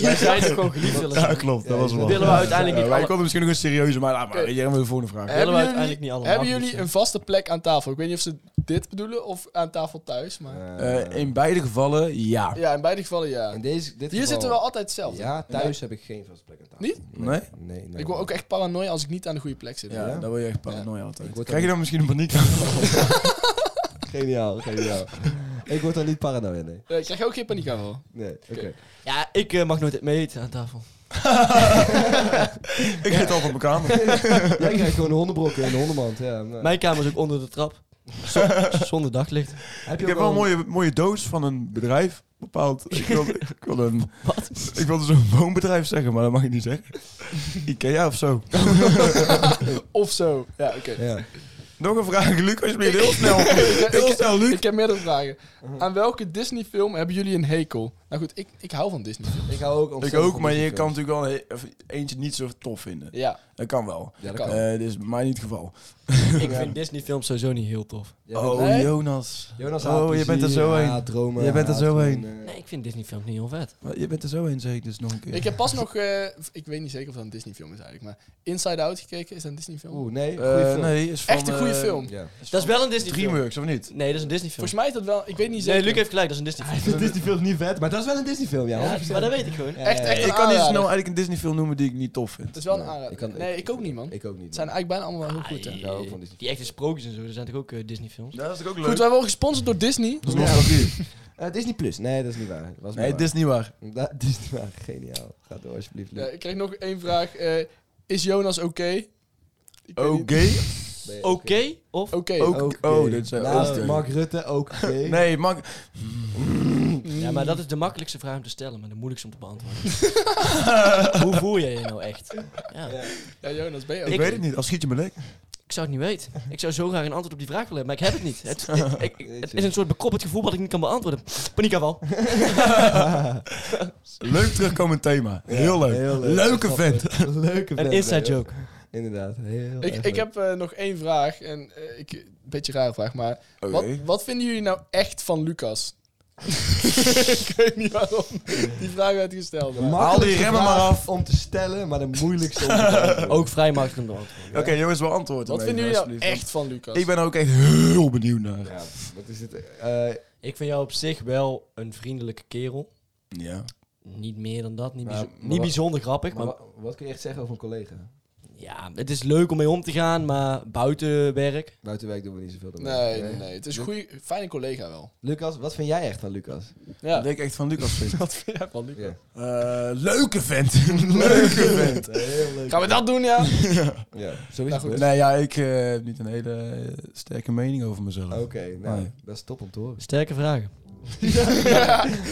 [SPEAKER 5] Jij zei toch gewoon geliefd willen zijn.
[SPEAKER 3] klopt.
[SPEAKER 2] Ja,
[SPEAKER 3] hem
[SPEAKER 2] dat
[SPEAKER 5] Willen we uiteindelijk
[SPEAKER 3] Ja,
[SPEAKER 5] niet
[SPEAKER 3] wij
[SPEAKER 5] alle-
[SPEAKER 3] konden misschien nog een serieuze, maar laat maar.
[SPEAKER 4] Oké.
[SPEAKER 3] Jij hebt de volgende vraag.
[SPEAKER 5] Willen
[SPEAKER 4] hebben
[SPEAKER 5] we
[SPEAKER 4] jullie,
[SPEAKER 5] uiteindelijk niet allemaal.
[SPEAKER 4] hebben
[SPEAKER 5] af,
[SPEAKER 4] jullie
[SPEAKER 5] dus,
[SPEAKER 4] een vaste plek aan tafel? Ik weet niet of ze dit bedoelen of aan tafel thuis, maar...
[SPEAKER 2] Eh,
[SPEAKER 3] Eh, in beide gevallen, ja.
[SPEAKER 4] ja, in beide gevallen ja.
[SPEAKER 2] in deze, dit
[SPEAKER 4] Hier
[SPEAKER 2] geval-
[SPEAKER 4] zitten we wel altijd hetzelfde.
[SPEAKER 2] Ja, thuis heb ik geen vaste plek aan tafel.
[SPEAKER 4] Niet?
[SPEAKER 3] Nee?
[SPEAKER 2] Nee, nee.
[SPEAKER 4] Ik word ook echt paranoia als ik niet aan de goede plek zit.
[SPEAKER 3] Ja,
[SPEAKER 2] Ja.
[SPEAKER 3] dan word je echt paranoia
[SPEAKER 2] Ik
[SPEAKER 3] altijd.
[SPEAKER 2] word
[SPEAKER 3] Krijg
[SPEAKER 2] dan-
[SPEAKER 3] je dan misschien een paniek?
[SPEAKER 2] Geniaal, geniaal. ik word daar niet paranoia, nee.
[SPEAKER 4] Eh, ik krijg ook geen paniek aanval.
[SPEAKER 2] Nee, oké.
[SPEAKER 5] Ja, ik eh, mag nooit mee eten aan tafel.
[SPEAKER 3] ik zit al op mijn kamer.
[SPEAKER 2] Jij krijgt gewoon een hondenbrokken in de hondenmand, ja. nou.
[SPEAKER 5] Mijn kamer is ook onder de trap. Z- Zonder daglicht.
[SPEAKER 2] Heb je ook
[SPEAKER 3] Ik heb wel
[SPEAKER 2] al
[SPEAKER 3] een mooie, mooie doos van een bedrijf. bepaald. Ik wilde, ik wilde, een, ik wilde zo'n woonbedrijf zeggen, maar dat mag ik niet zeggen. Ikea of zo.
[SPEAKER 4] Of zo. Ja, oké.
[SPEAKER 8] Ja.
[SPEAKER 3] Nog een vraag, Luc, alsjeblieft. Heel snel. Heel snel, Luc.
[SPEAKER 4] Ik heb meerdere vragen.
[SPEAKER 2] Uh-huh.
[SPEAKER 4] Aan welke Disney-film hebben jullie een hekel? Nou goed, ik, ik hou van Disney.
[SPEAKER 2] Ik hou ook
[SPEAKER 3] Ik
[SPEAKER 2] ontzettend
[SPEAKER 3] ook,
[SPEAKER 2] van
[SPEAKER 3] maar je
[SPEAKER 2] Disney
[SPEAKER 3] kan
[SPEAKER 2] films.
[SPEAKER 3] natuurlijk wel een he- of eentje niet zo tof vinden.
[SPEAKER 4] Ja, Oh.
[SPEAKER 3] Dat kan wel.
[SPEAKER 2] Ja, dat
[SPEAKER 4] kan.
[SPEAKER 2] kan.
[SPEAKER 3] Eh, dit is bij mij niet het geval.
[SPEAKER 5] Ik vind Disney-films sowieso niet heel tof.
[SPEAKER 2] Jij bent-
[SPEAKER 3] oh,
[SPEAKER 4] Nee?
[SPEAKER 3] Jonas.
[SPEAKER 2] Jonas
[SPEAKER 3] oh,
[SPEAKER 2] haat
[SPEAKER 3] je bent er
[SPEAKER 2] plezier,
[SPEAKER 3] zo
[SPEAKER 2] hij
[SPEAKER 3] heen.
[SPEAKER 2] haat dromen,
[SPEAKER 3] Je bent er
[SPEAKER 2] hij
[SPEAKER 3] zo
[SPEAKER 2] haat
[SPEAKER 3] heen.
[SPEAKER 2] gewoon, eh,
[SPEAKER 5] Nee, ik vind Disney-films niet heel vet.
[SPEAKER 3] Maar Je bent er zo heen, zeg ik dus nog een keer.
[SPEAKER 4] ik heb pas nog, eh, ik weet niet zeker of dat een Disney-film is eigenlijk, maar Inside Out gekeken, is dat een Disney-film?
[SPEAKER 2] Oeh, nee.
[SPEAKER 3] Eh,
[SPEAKER 2] goeie film.
[SPEAKER 3] nee, is van,
[SPEAKER 4] Echt een goede
[SPEAKER 3] eh,
[SPEAKER 4] film.
[SPEAKER 2] Ja.
[SPEAKER 5] Dat is wel een Disney-film.
[SPEAKER 3] Dreamworks, of niet?
[SPEAKER 5] Nee, dat is een Disney-film.
[SPEAKER 4] Volgens mij is dat wel, ik weet niet
[SPEAKER 5] Nee,
[SPEAKER 4] zeker.
[SPEAKER 5] Luc heeft gelijk, dat is een Disney-film.
[SPEAKER 2] Disney film niet vet, maar dat is wel een Disney film, ja.
[SPEAKER 5] Ja, maar dat weet ik gewoon.
[SPEAKER 4] echt, echt een
[SPEAKER 3] Ik kan niet zo snel
[SPEAKER 4] aanrader.
[SPEAKER 3] eigenlijk een Disney film noemen die ik niet tof vind.
[SPEAKER 4] Het is wel een
[SPEAKER 2] Ik
[SPEAKER 4] aanrader.
[SPEAKER 2] kan-
[SPEAKER 4] nee, ik ook niet, man.
[SPEAKER 2] Ik ook niet.
[SPEAKER 4] Het zijn eigenlijk bijna allemaal wel heel goed, hè.
[SPEAKER 5] Ah,
[SPEAKER 2] Ik hou ook van Disney.
[SPEAKER 5] Die echte sprookjes en zo, dat zijn toch ook eh, Disney-films?
[SPEAKER 3] Ja, dat is ook leuk.
[SPEAKER 4] Goed, wij worden gesponsord door Disney.
[SPEAKER 3] dat is nostalgie.
[SPEAKER 2] Eh, Disney Plus. Nee, dat is niet waar. Was maar
[SPEAKER 3] Nee,
[SPEAKER 2] waar.
[SPEAKER 3] dit is niet waar.
[SPEAKER 2] Da- Disney waar. Geniaal. Ga door, alsjeblieft.
[SPEAKER 4] Ja,
[SPEAKER 2] Luc.
[SPEAKER 4] ik kreeg nog één vraag. eh, is Jonas oké? Ik weet
[SPEAKER 3] Oké.
[SPEAKER 4] niet.
[SPEAKER 2] Nee,
[SPEAKER 5] Oké, of...
[SPEAKER 4] Oké.
[SPEAKER 3] Ook-
[SPEAKER 2] Oké.
[SPEAKER 3] Oh, dit zijn
[SPEAKER 2] Naast
[SPEAKER 3] oké.
[SPEAKER 2] Mark Rutte, ook.
[SPEAKER 3] Nee, Mark,
[SPEAKER 5] Ja, maar dat is de makkelijkste vraag om te stellen, maar de moeilijkste om te beantwoorden. Hoe voel jij je nou echt? Ja.
[SPEAKER 4] Ja, Jonas, ben je
[SPEAKER 3] ik,
[SPEAKER 4] oké?
[SPEAKER 3] weet het niet. Als schiet je me lek.
[SPEAKER 5] Ik zou het niet weten. Ik zou zo graag een antwoord op die vraag willen hebben, maar ik heb het niet. Het, ik- ik- ik- het is een soort bekroppend gevoel wat ik niet kan beantwoorden. Paniekaanval.
[SPEAKER 3] Leuk terugkomend thema. Heel leuk.
[SPEAKER 2] heel leuk.
[SPEAKER 3] Leuke
[SPEAKER 2] Snap
[SPEAKER 3] vent.
[SPEAKER 2] Leuke
[SPEAKER 5] Een
[SPEAKER 2] vent,
[SPEAKER 5] inside
[SPEAKER 2] hè.
[SPEAKER 5] joke.
[SPEAKER 2] Inderdaad. Heel
[SPEAKER 4] Ik,
[SPEAKER 2] erg
[SPEAKER 4] ik
[SPEAKER 2] leuk.
[SPEAKER 4] heb eh, nog één vraag. En, eh, ik, een beetje een rare vraag, maar... Wat, wat vinden jullie nou echt van Lucas? ik weet niet waarom die vraag werd gesteld. maar-
[SPEAKER 3] Haal die remmen maar
[SPEAKER 2] vraag
[SPEAKER 3] af.
[SPEAKER 2] om te stellen, maar de moeilijkste om te beantwoorden.
[SPEAKER 5] Ook vrij makkelijk om te beantwoorden.
[SPEAKER 3] Oké, jongens, wel antwoord.
[SPEAKER 4] Wat
[SPEAKER 3] hem
[SPEAKER 4] vinden
[SPEAKER 3] even,
[SPEAKER 4] jullie nou
[SPEAKER 3] alsjeblieft,
[SPEAKER 4] echt van Lucas?
[SPEAKER 3] want Ik ben er ook echt heel benieuwd naar.
[SPEAKER 2] Ja, wat is het? Eh,
[SPEAKER 5] Ik vind jou op zich wel een vriendelijke kerel.
[SPEAKER 3] Ja.
[SPEAKER 5] Niet meer dan dat. Niet,
[SPEAKER 2] Maar-
[SPEAKER 5] bijzo-
[SPEAKER 2] maar
[SPEAKER 5] niet
[SPEAKER 2] wa-
[SPEAKER 5] bijzonder grappig,
[SPEAKER 2] maar
[SPEAKER 5] maar
[SPEAKER 2] wa- wat kun je echt zeggen over een collega?
[SPEAKER 5] ja, het is leuk om mee om te gaan, maar buiten werk.
[SPEAKER 2] Buiten werk doen we niet zoveel. dan
[SPEAKER 4] Nee, nee,
[SPEAKER 2] werk.
[SPEAKER 4] nee. Het is een goeie, fijne collega wel.
[SPEAKER 2] Lucas, wat vind jij echt van Lucas?
[SPEAKER 4] Ja.
[SPEAKER 3] Wat ik echt van Lucas vind.
[SPEAKER 4] Wat vind jij van Lucas?
[SPEAKER 2] Ja.
[SPEAKER 3] Eh, leuke vent. leuke vent.
[SPEAKER 2] Heel leuk.
[SPEAKER 4] Gaan we dat doen, ja?
[SPEAKER 2] Ja, zo is
[SPEAKER 4] Nou
[SPEAKER 2] het
[SPEAKER 4] goed.
[SPEAKER 2] best.
[SPEAKER 3] Nee, ja, ik eh, heb niet een hele eh, sterke mening over mezelf.
[SPEAKER 2] Oké, nou,
[SPEAKER 3] Nee.
[SPEAKER 2] dat is top om te horen.
[SPEAKER 5] Sterke vragen.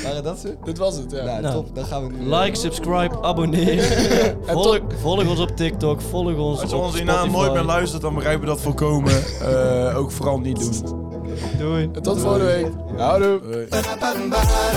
[SPEAKER 2] Waren dat ze?
[SPEAKER 4] Dit was het, ja.
[SPEAKER 2] Nou,
[SPEAKER 5] Nou.
[SPEAKER 2] top. Dan gaan we nu...
[SPEAKER 5] Like, subscribe, abonneer. volg, volg ons op TikTok, volg ons
[SPEAKER 3] Als je
[SPEAKER 5] op
[SPEAKER 3] ons hierna
[SPEAKER 5] Spotify.
[SPEAKER 3] nooit meer luistert, dan begrijpen we dat volkomen. Eh, ook vooral niet doen.
[SPEAKER 5] Doei.
[SPEAKER 4] En tot volgende week. Houdoe.
[SPEAKER 3] Eh,